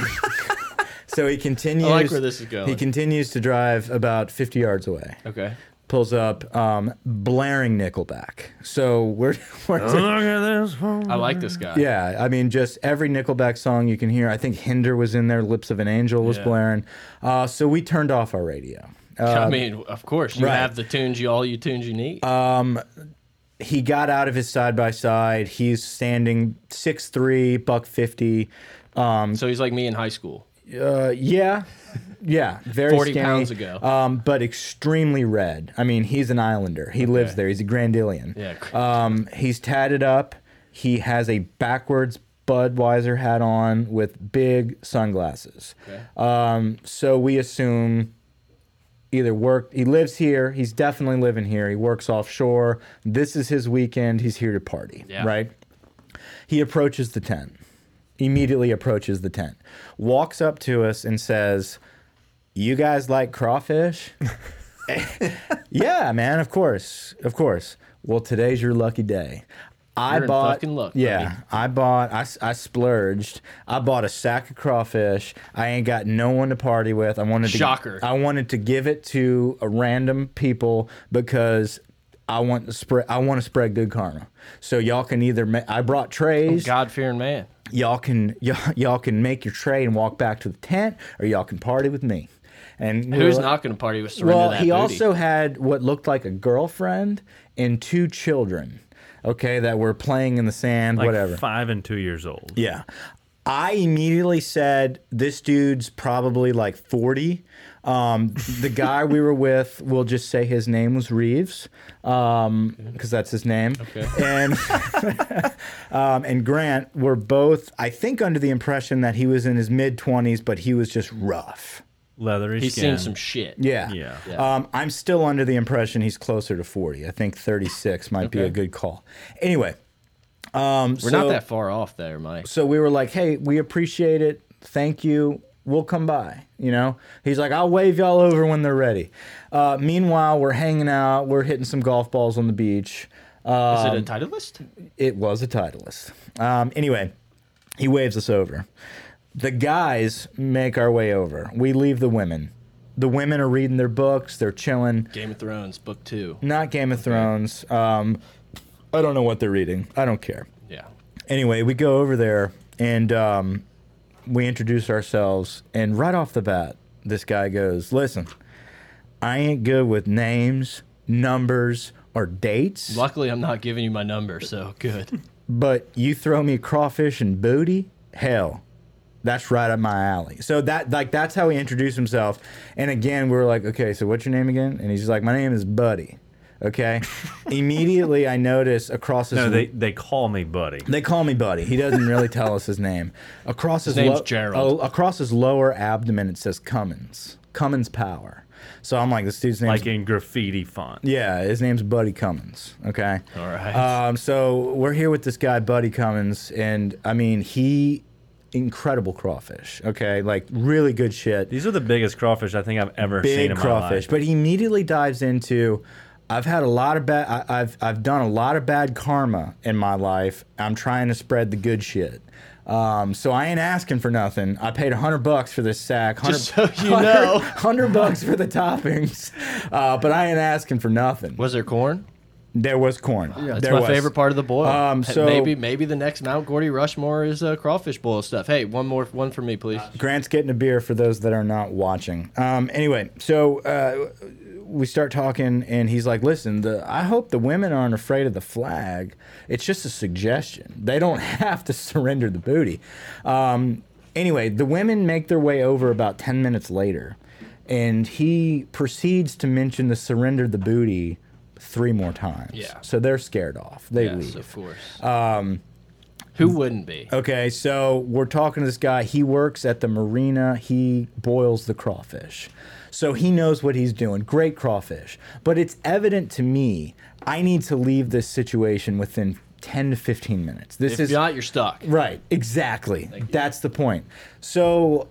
Speaker 2: So he continues.
Speaker 1: where this is going.
Speaker 2: He continues to drive about 50 yards away
Speaker 1: Okay.
Speaker 2: pulls up um, blaring Nickelback. So we're, we're
Speaker 3: Look at this one.
Speaker 1: I like this guy.
Speaker 2: yeah, I mean, just every Nickelback song you can hear. I think Hinder was in there, Lips of an Angel was
Speaker 1: Yeah.
Speaker 2: blaring. Uh, so we turned off our radio. Uh,
Speaker 1: I mean, of course, you
Speaker 2: right. Um,
Speaker 1: have the tunes you all you tunes you need.
Speaker 2: he got out of his side by side. He's standing 6'3, buck 50.
Speaker 1: so he's like me in high school.
Speaker 2: Uh, yeah, yeah, very
Speaker 1: 40
Speaker 2: skinny,
Speaker 1: pounds ago.
Speaker 2: Um, but extremely red. I mean, he's an islander. He lives there. He's a Grandillion.
Speaker 1: Yeah.
Speaker 2: Um, he's tatted up. He has a backwards Budweiser hat on with big sunglasses.
Speaker 1: Okay.
Speaker 2: Um, so we assume either work. He lives here. He's definitely living here. He works offshore. This is his weekend. He's here to party.
Speaker 1: Yeah.
Speaker 2: Right. He approaches the tent. Immediately approaches the tent. Walks up to us and says, "You guys like crawfish?" yeah, man. Of course. Of course. Well, today's your lucky day. I
Speaker 1: You're in
Speaker 2: bought.
Speaker 1: fucking luck,
Speaker 2: yeah,
Speaker 1: buddy.
Speaker 2: I bought. I, s- I splurged. I bought a sack of crawfish. I ain't got no one to party with. I wanted to,
Speaker 1: Shocker.
Speaker 2: I wanted to give it to a random people because I want to spread. I want to spread good karma. So y'all can either. Ma- I brought trays.
Speaker 1: God fearing man.
Speaker 2: y'all can y'all, y'all can make your tray and walk back to the tent, or y'all can party with me. And we were
Speaker 1: Who's
Speaker 2: like-
Speaker 1: not going to party with surrender
Speaker 2: well,
Speaker 1: that
Speaker 2: he
Speaker 1: booty?
Speaker 2: also had what looked like a girlfriend and two children. Okay, that were playing in the sand,
Speaker 3: Like
Speaker 2: whatever.
Speaker 3: Five and two years old.
Speaker 2: Yeah. I immediately said, this dude's probably like 40. Um, the guy we were with, we'll just say his name was Reeves, because that's his name.
Speaker 1: Okay.
Speaker 2: And, um, and Grant were both, I think, under the impression that he was in his mid 20s, but he was just rough.
Speaker 3: Leathery
Speaker 1: he's
Speaker 3: skin.
Speaker 1: seen some shit.
Speaker 2: Yeah.
Speaker 3: Yeah.
Speaker 2: Um, I'm still under the impression he's closer to 40. I think 36 might be
Speaker 1: Okay.
Speaker 2: a good call. Anyway. Um,
Speaker 1: We're not that far off there, Mike.
Speaker 2: so we were like, "Hey, we appreciate it. Thank you. We'll come by." You know, he's like, "I'll wave y'all over when they're ready." Uh, meanwhile, we're hanging out. We're hitting some golf balls on the beach. Uh,
Speaker 1: Is it a title list?
Speaker 2: it was a Titleist. Um, anyway, he waves us over. The guys make our way over. We leave the women. The women are reading their books. They're chilling.
Speaker 1: Game of Thrones, book two.
Speaker 2: Not Game of Thrones. Um, I don't know what they're reading. I don't care
Speaker 1: Yeah.
Speaker 2: anyway, we go over there and um, we introduce ourselves. And right off the bat, this guy goes, "Listen, I ain't good with names, numbers, or dates.
Speaker 1: Luckily, I'm not giving you my number, so good.
Speaker 2: But you throw me crawfish and booty, hell, that's right up my alley. So that like that's how he introduced himself. And again, we were like, okay, so what's your name again? And he's just like, my name is Buddy. Okay. Immediately, I notice across his
Speaker 3: No, they they call me buddy.
Speaker 2: they call me Buddy. He doesn't really tell us his name. Across his,
Speaker 1: name's
Speaker 2: lo-
Speaker 1: Gerald.
Speaker 2: oh, across his lower abdomen, it says Cummins. Cummins Power. So I'm like, this dude's name.
Speaker 3: Like in graffiti font.
Speaker 2: yeah, his name's Buddy Cummins. Okay.
Speaker 1: All right.
Speaker 2: Um, so we're here with this guy, Buddy Cummins, and I mean, he incredible crawfish. Okay, like really good shit
Speaker 3: These are the biggest crawfish I think I've ever seen
Speaker 2: big
Speaker 3: in my
Speaker 2: crawfish.
Speaker 3: life.
Speaker 2: But he immediately dives into, I've had a lot of bad, I, I've I've done a lot of bad karma in my life. I'm trying to spread the good shit. Um, so I ain't asking for nothing. I paid hundred bucks for this sack. 100,
Speaker 1: Just so you know.
Speaker 2: hundred bucks for the toppings. Uh, but I ain't asking for nothing.
Speaker 1: Was there corn?
Speaker 2: There was corn.
Speaker 1: That's
Speaker 2: there
Speaker 1: my
Speaker 2: was.
Speaker 1: favorite part of the boil.
Speaker 2: Um,
Speaker 1: Hey,
Speaker 2: so-
Speaker 1: maybe maybe the next Mount Gordy Rushmore is uh, crawfish boil stuff. Hey, one more one for me, please.
Speaker 2: Grant's getting a beer for those that are not watching. Um, anyway, so uh, we start talking, and he's like, "Listen, the, I hope the women aren't afraid of the flag. It's just a suggestion. They don't have to surrender the booty." Um, anyway, the women make their way over about ten minutes later, and he proceeds to mention the surrender the booty three more times.
Speaker 1: Yeah.
Speaker 2: So they're scared off. They leave.
Speaker 1: Yes, of course. Um, Who wouldn't be?
Speaker 2: Okay, so we're talking to this guy. He works at the marina. He boils the crawfish. So he knows what he's doing. Great crawfish. But it's evident to me I need to leave this situation within 10 to 15 minutes. This
Speaker 1: if
Speaker 2: is
Speaker 1: not, you're stuck.
Speaker 2: Right, exactly. That's the point. So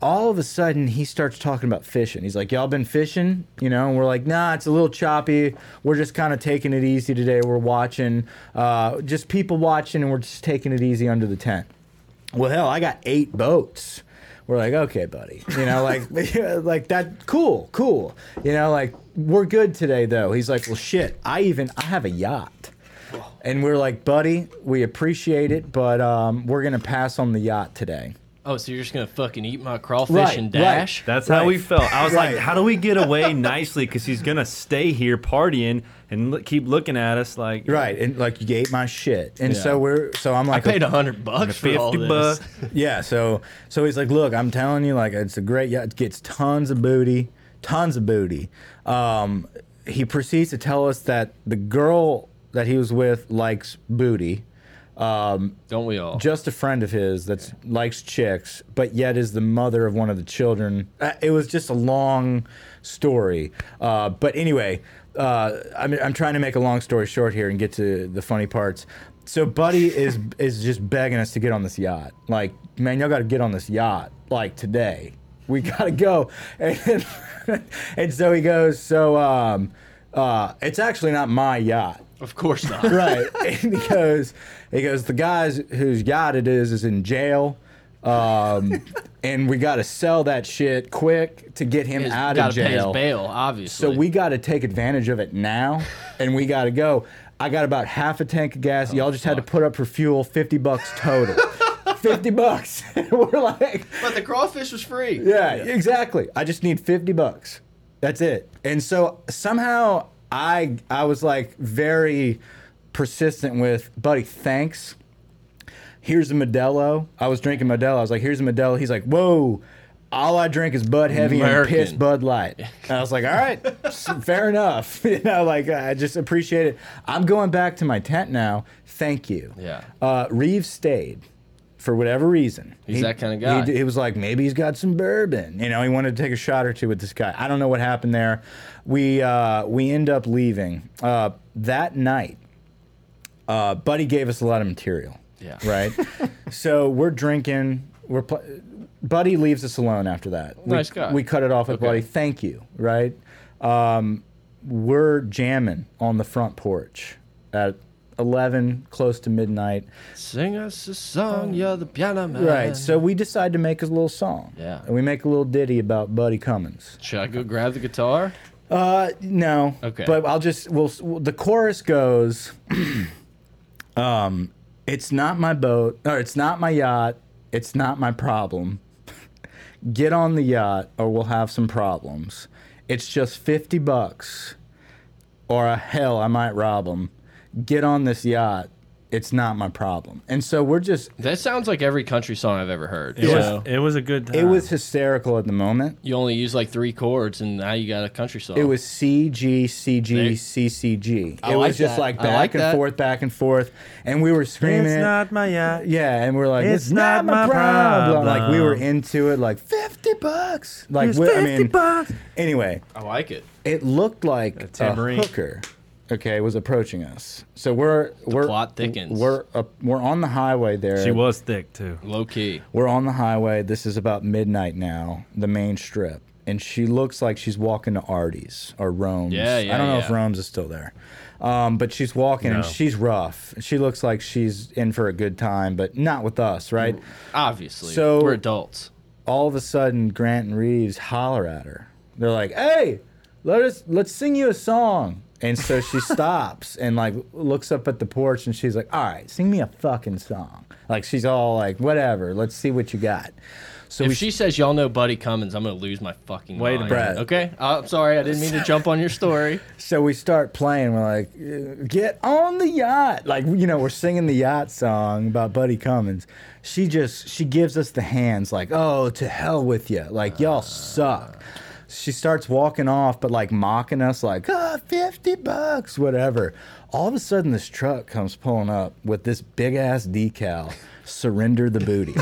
Speaker 2: all of a sudden he starts talking about fishing. He's like, Y'all been fishing? You know, and we're like, nah, it's a little choppy. We're just kind of taking it easy today. We're watching, uh, just people watching, and we're just taking it easy under the tent. Well, hell, I got eight boats. We're like, okay, buddy. You know, like, like that. Cool, cool. You know, like we're good today, though. He's like, well, shit. I even I have a yacht. And we're like, buddy, we appreciate it, but um, we're gonna pass on the yacht today.
Speaker 1: Oh, so you're just gonna fucking eat my crawfish
Speaker 2: Right,
Speaker 1: and
Speaker 2: right.
Speaker 1: dash?
Speaker 3: That's
Speaker 2: Right.
Speaker 3: how we felt. I was
Speaker 2: Right.
Speaker 3: like, how do we get away nicely? Because he's gonna stay here partying and look, keep looking at us like
Speaker 2: Right, and like you ate my shit, and
Speaker 1: Yeah.
Speaker 2: so we're so I'm
Speaker 1: I
Speaker 2: like, "Oh,
Speaker 1: paid a hundred bucks for all
Speaker 3: fifty
Speaker 1: this.
Speaker 3: bucks.
Speaker 2: yeah. So so he's like, look, I'm telling you, like it's a great yacht. It gets tons of booty, tons of booty. Um, he proceeds to tell us that the girl that he was with likes booty. Um,
Speaker 1: Don't we all?
Speaker 2: just a friend of his that likes chicks, but yet is the mother of one of the children. Uh, It was just a long story. Uh, but anyway, uh, I'm, I'm trying to make a long story short here and get to the funny parts. So Buddy is is just begging us to get on this yacht. Like, man, y'all got to get on this yacht like today. We gotta go. And, and so he goes. So um, uh, it's actually not my yacht
Speaker 1: of course not.
Speaker 2: right and he goes he goes the guys whose yacht it is is in jail um, and we got to sell that shit quick to get him
Speaker 1: He's
Speaker 2: out
Speaker 1: gotta
Speaker 2: of
Speaker 1: pay his
Speaker 2: jail
Speaker 1: bail, obviously.
Speaker 2: so we got to take advantage of it now and we got to go i got about half a tank of gas
Speaker 1: Oh,
Speaker 2: y'all just had to put up for fuel 50 bucks total 50 bucks And we're like
Speaker 1: But the crawfish was free.
Speaker 2: yeah, exactly. I just need 50 bucks. That's it. And so somehow I I was like very persistent with, buddy, thanks. Here's a Modelo. I was drinking Modelo. I was like, here's a Modelo. He's like, whoa. All I drink is Bud Heavy
Speaker 1: American.
Speaker 2: and piss Bud Light. And I was like, all right, s- fair enough. You know, like I just appreciate it. I'm going back to my tent now. Thank you.
Speaker 1: Yeah.
Speaker 2: Uh, Reeves stayed for whatever reason. He's
Speaker 1: that kinda guy.
Speaker 2: He, d- he was like, maybe he's got some bourbon. You know, he wanted to take a shot or two with this guy. I don't know what happened there. We uh, we end up leaving uh, that night. Uh, Buddy gave us a lot of material.
Speaker 1: Yeah.
Speaker 2: Right. so we're drinking. We're pl- Buddy leaves us alone after that. We-
Speaker 1: Nice guy.
Speaker 2: We cut it off with
Speaker 1: Okay.
Speaker 2: Buddy. Thank you. Right. Um, we're jamming on the front porch at eleven, close to midnight.
Speaker 1: Sing us a song, you're the piano man.
Speaker 2: Right. So we decide to make a little song.
Speaker 1: Yeah.
Speaker 2: And we make a little ditty about Buddy Cummins.
Speaker 1: should I go grab the guitar?
Speaker 2: Uh, no.
Speaker 1: Okay.
Speaker 2: But I'll just we'll, we'll- the chorus goes. um, it's not my boat, or it's not my yacht. It's not my problem. Get on the yacht, or we'll have some problems. It's just 50 bucks, or a hell, I might rob them. Get on this yacht. It's not my problem. And so we're just,
Speaker 1: That sounds like every country song I've ever heard.
Speaker 3: It,
Speaker 1: So,
Speaker 3: was, it was a good time.
Speaker 2: it
Speaker 1: Ah.
Speaker 2: was hysterical at the moment.
Speaker 1: you only use like three chords, and now you got a country song.
Speaker 2: It was C G C G
Speaker 1: There-
Speaker 2: C C G.
Speaker 1: I
Speaker 2: It
Speaker 1: like
Speaker 2: was just
Speaker 1: that.
Speaker 2: like
Speaker 1: I
Speaker 2: back
Speaker 1: like
Speaker 2: and
Speaker 1: that.
Speaker 2: forth, back and forth, and we were screaming.
Speaker 3: It's
Speaker 2: it.
Speaker 3: not my yacht.
Speaker 2: Yeah, and we're like, it's,
Speaker 3: It's
Speaker 2: not,
Speaker 3: not
Speaker 2: my
Speaker 3: my
Speaker 2: problem. Like we were
Speaker 3: problem.
Speaker 2: into it, like fifty bucks. Like
Speaker 3: It's
Speaker 2: we- I
Speaker 3: 50
Speaker 2: mean,
Speaker 3: bucks.
Speaker 2: anyway,
Speaker 1: I like it.
Speaker 2: it looked like a,
Speaker 3: tambourine.
Speaker 2: hooker. Okay, was approaching us. So we're we're
Speaker 1: plot thickens.
Speaker 2: We're up, we're on the highway there.
Speaker 3: She was thick too.
Speaker 1: Low key.
Speaker 2: We're on the highway. This is about midnight now, the main strip. And she looks like she's walking to Artie's or Rome's.
Speaker 1: Yeah, yeah,
Speaker 2: I don't know if
Speaker 1: yeah.
Speaker 2: Rome's is still there. Um, but she's walking and
Speaker 3: No.
Speaker 2: she's rough. She looks like she's in for a good time, but not with us, right?
Speaker 1: Obviously.
Speaker 2: So-
Speaker 1: we're adults.
Speaker 2: all of a sudden Grant and Reeves holler at her. They're like, "Hey, let us let's sing you a song." And so she stops and like looks up at the porch and she's like, "All right, sing me a fucking song." Like she's all like, "Whatever, let's see what you got." So
Speaker 1: If
Speaker 2: we
Speaker 1: she says y'all know Buddy Cummins, I'm gonna lose my fucking
Speaker 3: Wait a
Speaker 1: mind.
Speaker 2: minute.
Speaker 1: Okay, I'm sorry. I didn't mean to jump on your story.
Speaker 2: so we start playing. We're like, "Uh, "Get on the yacht!" Like you know, we're singing the yacht song about Buddy Cummins. She just she gives us the hands like, "Oh, to hell with you!" Like y'all suck. She starts walking off, but like mocking us, like, "Ah, fifty bucks, whatever." All of a sudden, this truck comes pulling up with this big ass decal. Surrender the booty.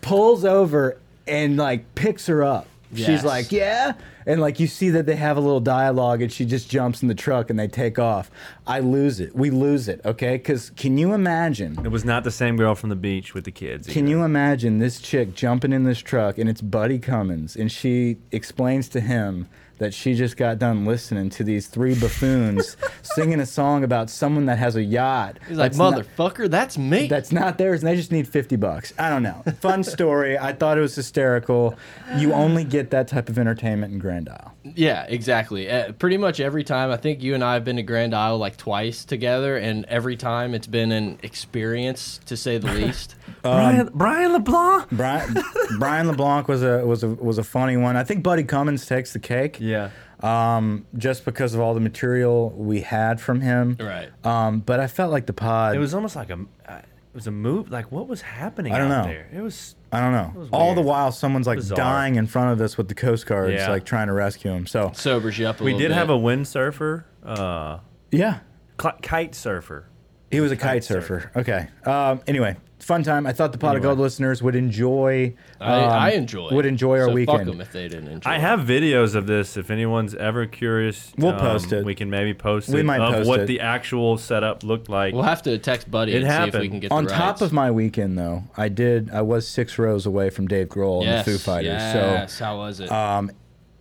Speaker 2: pulls over and like picks her up. She's
Speaker 1: Yes.
Speaker 2: like, yeah. And like you see that they have a little dialogue and she just jumps in the truck and they take off. I lose it. We lose it, okay? Cuz can you imagine?
Speaker 3: It was not the same girl from the beach with the kids.
Speaker 2: Can you imagine this chick jumping in this truck and it's Buddy Cummins and she explains to him that she just got done listening to these three buffoons singing a song about someone that has a yacht.
Speaker 1: He's like,
Speaker 2: that's not-
Speaker 1: motherfucker, that's me.
Speaker 2: that's not theirs, and they just need 50 bucks. I don't know. Fun story. I thought it was hysterical. You only get that type of entertainment in Grand Isle.
Speaker 1: yeah, exactly. Uh, pretty much every time, I think you and I have been to Grand Isle like twice together, and every time it's been an experience to say the least.
Speaker 2: um,
Speaker 3: Brian, Brian LeBlanc.
Speaker 2: Brian, Brian LeBlanc was a was a was a funny one. I think Buddy Cummins takes the cake.
Speaker 3: Yeah.
Speaker 2: Um, just because of all the material we had from him.
Speaker 1: Right.
Speaker 2: Um, but I felt like the pod.
Speaker 3: It was almost like a. uh, It was a move. Like what was happening?
Speaker 2: I don't
Speaker 3: out
Speaker 2: know.
Speaker 3: There? It was.
Speaker 2: I don't know.
Speaker 3: was
Speaker 2: All the
Speaker 3: weird.
Speaker 2: while, someone's like
Speaker 3: Bizarre.
Speaker 2: dying in front of us with the Coast Guards,
Speaker 3: Yeah.
Speaker 2: like trying to rescue him. So
Speaker 1: Sobers you up a
Speaker 3: We
Speaker 1: little
Speaker 3: did
Speaker 1: bit.
Speaker 3: have a windsurfer, uh,
Speaker 2: yeah,
Speaker 3: cl- kite surfer.
Speaker 2: He was a kite, surfer.
Speaker 3: surfer.
Speaker 2: Okay. Um, anyway, fun time. I thought the Pot of
Speaker 3: Anyway.
Speaker 2: Gold listeners would enjoy.
Speaker 1: I,
Speaker 2: um,
Speaker 1: I enjoy.
Speaker 2: Would enjoy our
Speaker 1: so Fuck
Speaker 2: weekend.
Speaker 1: them if they didn't enjoy.
Speaker 3: I
Speaker 1: it.
Speaker 3: have videos of this. If anyone's ever curious, um,
Speaker 2: We'll post it.
Speaker 3: We can maybe post
Speaker 2: We
Speaker 3: it
Speaker 2: might
Speaker 3: of
Speaker 2: post
Speaker 3: what
Speaker 2: it.
Speaker 3: the actual setup looked like.
Speaker 1: We'll have to text Buddy and
Speaker 3: It
Speaker 1: see if we
Speaker 3: happened.
Speaker 1: can get
Speaker 2: On
Speaker 1: the
Speaker 2: top
Speaker 1: rights.
Speaker 2: of my weekend, though, I did. I was six rows away from Dave Grohl
Speaker 1: yes,
Speaker 2: and the Foo Fighters.
Speaker 1: Yes. How was it?
Speaker 2: So um,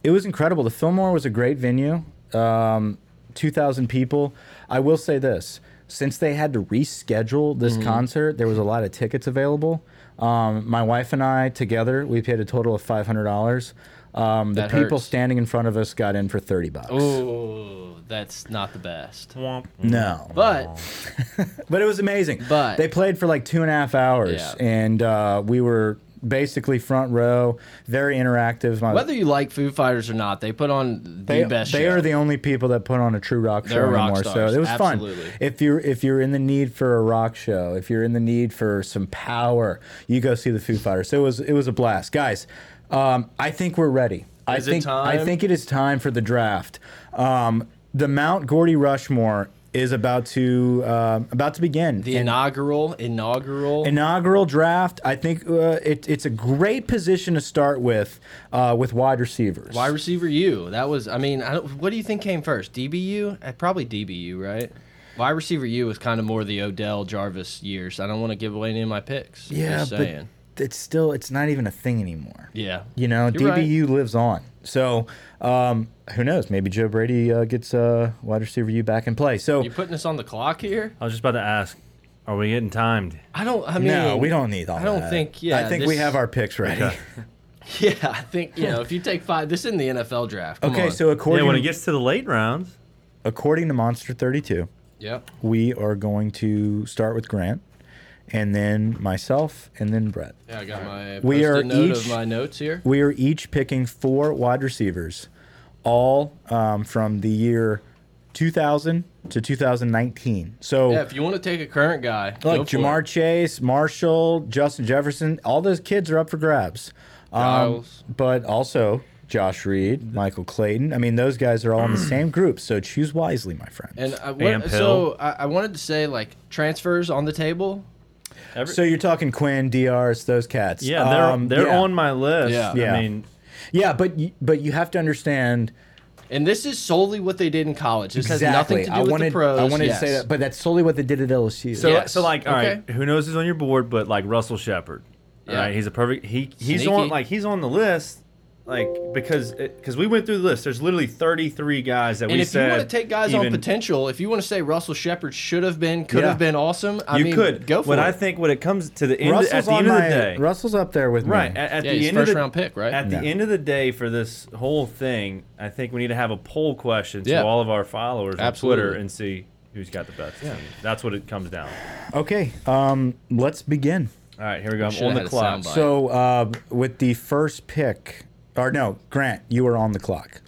Speaker 2: it was incredible. The Fillmore was a great venue. Um, Two thousand people. I will say this: since they had to reschedule this
Speaker 1: Mm-hmm.
Speaker 2: concert, there was a lot of tickets available. Um, my wife and I together, we paid a total of five hundred dollars. Um, the
Speaker 1: That
Speaker 2: people
Speaker 1: hurts.
Speaker 2: standing in front of us got in for thirty bucks.
Speaker 1: Ooh, that's not the best.
Speaker 3: Womp.
Speaker 2: No,
Speaker 1: But
Speaker 2: but it was amazing.
Speaker 1: But-
Speaker 2: they played for like two and a half hours,
Speaker 1: Yeah.
Speaker 2: and uh, we were basically front row, very interactive. My,
Speaker 1: whether you like Foo Fighters or not, they put on the
Speaker 2: they,
Speaker 1: best.
Speaker 2: they
Speaker 1: show.
Speaker 2: are the only people that put on a true rock show
Speaker 1: They're rock
Speaker 2: anymore.
Speaker 1: stars,
Speaker 2: So it was
Speaker 1: absolutely.
Speaker 2: fun. If you're if you're in the need for a rock show, if you're in the need for some power, you go see the Foo Fighters. It was it was a blast, guys. Um, I think we're ready. I
Speaker 1: Is it
Speaker 2: think I
Speaker 1: time?
Speaker 2: think it is time for the draft. Um, the Mount Gordy Rushmore is about to um about to begin.
Speaker 1: the
Speaker 2: And-
Speaker 1: inaugural inaugural.
Speaker 2: inaugural draft. I think uh, it, it's a great position to start with, uh, with wide receivers.
Speaker 1: wide receiver U. That was. I mean, I don't, what do you think came first? DBU? Uh, Probably DBU, right? Wide receiver U was kind of more the Odell Jarvis years. I don't want to give away any of my picks.
Speaker 2: yeah,
Speaker 1: Just saying.
Speaker 2: but it's still it's not even a thing anymore.
Speaker 1: yeah.
Speaker 2: You know,
Speaker 1: You're right.
Speaker 2: DBU lives on. So um, who knows? Maybe Joe Brady uh, gets uh, wide receiver U back in play. So
Speaker 1: You putting us on the clock here?
Speaker 3: I was just about to ask, are we getting timed?
Speaker 1: I don't. I mean,
Speaker 2: no, we don't need all
Speaker 1: I don't
Speaker 2: that.
Speaker 1: think- yeah,
Speaker 2: I think we
Speaker 1: this-
Speaker 2: have our picks ready. Okay,
Speaker 1: Yeah, I think you know if you take five. This is in the NFL draft. Come on.
Speaker 2: so
Speaker 3: yeah,
Speaker 2: according
Speaker 3: when it gets to the late rounds,
Speaker 2: according to Monster Thirty Two,
Speaker 1: yep.
Speaker 2: we are going to start with Grant, and then myself, and then Brett.
Speaker 1: Yeah, I got my
Speaker 2: We
Speaker 1: we
Speaker 2: are
Speaker 1: note
Speaker 2: each-
Speaker 1: of my notes here.
Speaker 2: We are each picking four wide receivers. all um, from the year 2000 to 2019. So
Speaker 1: Yeah, if you want to take a current guy, go
Speaker 2: Look,
Speaker 1: for
Speaker 2: Jamar
Speaker 1: it.
Speaker 2: Chase, Marshall, Justin Jefferson, all those kids are up for grabs. Um,
Speaker 1: Giles.
Speaker 2: but also Josh Reed, Michael Clayton. I mean, those guys are all in the same group, so choose wisely, my friend.
Speaker 1: and I,
Speaker 3: Bam
Speaker 1: what,
Speaker 3: Hill.
Speaker 1: so I, I wanted to say like transfers on the table.
Speaker 3: Every,
Speaker 2: so you're talking Quinn, DRs, those cats.
Speaker 3: yeah, they're
Speaker 2: Um,
Speaker 3: they're
Speaker 2: yeah.
Speaker 3: on my list.
Speaker 1: Yeah.
Speaker 2: Yeah.
Speaker 3: I mean,
Speaker 2: Yeah, but you, but you have to understand
Speaker 1: And this is solely what they did in college. This has nothing
Speaker 2: exactly.
Speaker 1: to do
Speaker 2: I
Speaker 1: with
Speaker 2: wanted
Speaker 1: the pros.
Speaker 2: I wanted
Speaker 1: yes.
Speaker 2: to say that, but that's solely what they did at LSU.
Speaker 3: so
Speaker 1: Yes.
Speaker 3: so like, all right,
Speaker 1: Okay.
Speaker 3: who knows who's on your board? But like Russell Shepard,
Speaker 1: Yeah.
Speaker 3: right? He's a perfect. He he's
Speaker 1: Sneaky.
Speaker 3: on like he's on the list. Like because because we went through the list, there's literally 33 guys that
Speaker 1: And
Speaker 3: we
Speaker 1: if you
Speaker 3: said
Speaker 1: want to take guys on
Speaker 3: even-
Speaker 1: potential, if you want to say Russell Shepard should have been, could
Speaker 2: Yeah.
Speaker 1: have been awesome, I
Speaker 3: you
Speaker 1: mean,
Speaker 3: could
Speaker 1: go for
Speaker 3: But
Speaker 1: it.
Speaker 3: I think when it comes to the end
Speaker 2: Russell's
Speaker 3: at the
Speaker 2: on
Speaker 3: end of
Speaker 2: my
Speaker 3: the day,
Speaker 2: Russell's up there with
Speaker 3: right
Speaker 2: me.
Speaker 3: at, at
Speaker 1: Yeah,
Speaker 3: the
Speaker 1: he's
Speaker 3: end of
Speaker 1: first
Speaker 3: the-
Speaker 1: round pick, right?
Speaker 3: At the
Speaker 2: Yeah.
Speaker 3: end of the day, for this whole thing, I think we need to have a poll question to
Speaker 1: Yeah.
Speaker 3: all of our followers on
Speaker 1: Absolutely.
Speaker 3: Twitter and see who's got the best. team. That's what it comes down. to.
Speaker 2: Okay, um, let's begin.
Speaker 3: All right, here we go. I'm
Speaker 1: Should've
Speaker 3: on
Speaker 1: had
Speaker 3: the
Speaker 1: a
Speaker 3: clock.
Speaker 1: soundbite.
Speaker 2: So uh, with the first pick, or no, Grant, you were on the clock,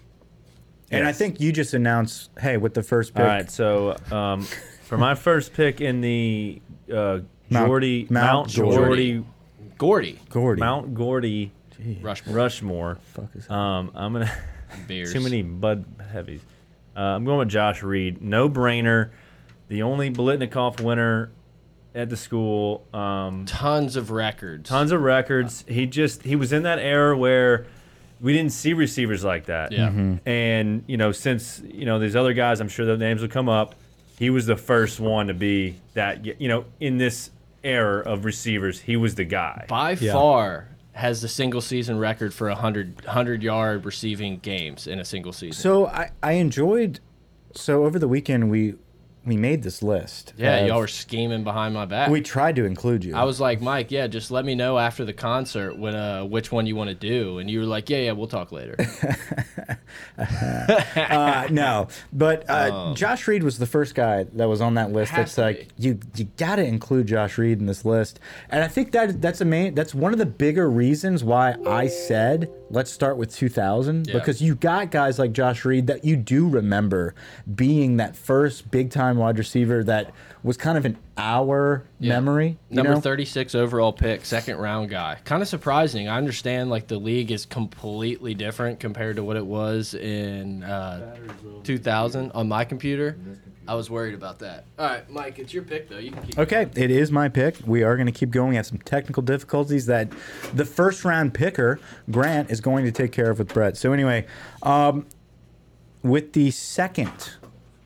Speaker 2: and I
Speaker 3: Yes.
Speaker 2: think you just announced, "Hey, with the first pick,
Speaker 3: All right, so um, for my first pick in the uh,
Speaker 2: Mount-
Speaker 3: Geordie Mount,
Speaker 2: Mount
Speaker 3: Geordie,
Speaker 1: Geordie. Gordy,
Speaker 2: Gordy."
Speaker 3: Mount Geordie
Speaker 1: Rushmore,
Speaker 3: Rushmore. Um, I'm gonna.
Speaker 1: Bears.
Speaker 3: Too many Bud heavies. Uh, I'm going with Josh Reed. No brainer. The only Blitnikoff winner at the school. Um,
Speaker 1: tons of records.
Speaker 3: tons of records. He just he was in that era where we didn't see receivers like that.
Speaker 1: Yeah.
Speaker 3: Mm-hmm. And you know, since you know these other guys, I'm sure their names will come up. He was the first one to be that. You know, in this era of receivers, he was the guy.
Speaker 1: by far has the single season record for 100, 100 yard receiving games in a single season.
Speaker 2: So I, I enjoyed. So over the weekend we we made this list.
Speaker 1: yeah,
Speaker 2: of-
Speaker 1: y'all were scheming behind my back.
Speaker 2: We tried to include you.
Speaker 1: I was like, Mike, yeah, just let me know after the concert when uh, which one you want to do, and you were like, yeah, yeah, we'll talk later.
Speaker 2: uh, no, but uh, Josh Reed was the first guy that was on that list.
Speaker 1: Oh. Has
Speaker 2: That's
Speaker 1: to
Speaker 2: like you you got to include Josh Reed in this list, and I think that that's a main that's one of the bigger reasons why I said let's start with 2000
Speaker 1: Yeah.
Speaker 2: because you got guys like Josh Reed that you do remember being that first big time wide receiver that was kind of an hour memory. you
Speaker 1: Number
Speaker 2: know?
Speaker 1: 36 overall pick, second round guy. Kind of surprising. I understand like the league is completely different compared to what it was in uh, 2000 on my computer. I was worried about that. All right, Mike, it's your pick though. You can keep
Speaker 2: Okay, it is my pick. We are going to keep going. We have some technical difficulties that the first round picker, Grant, is going to take care of with Brett. So, anyway, um, with the second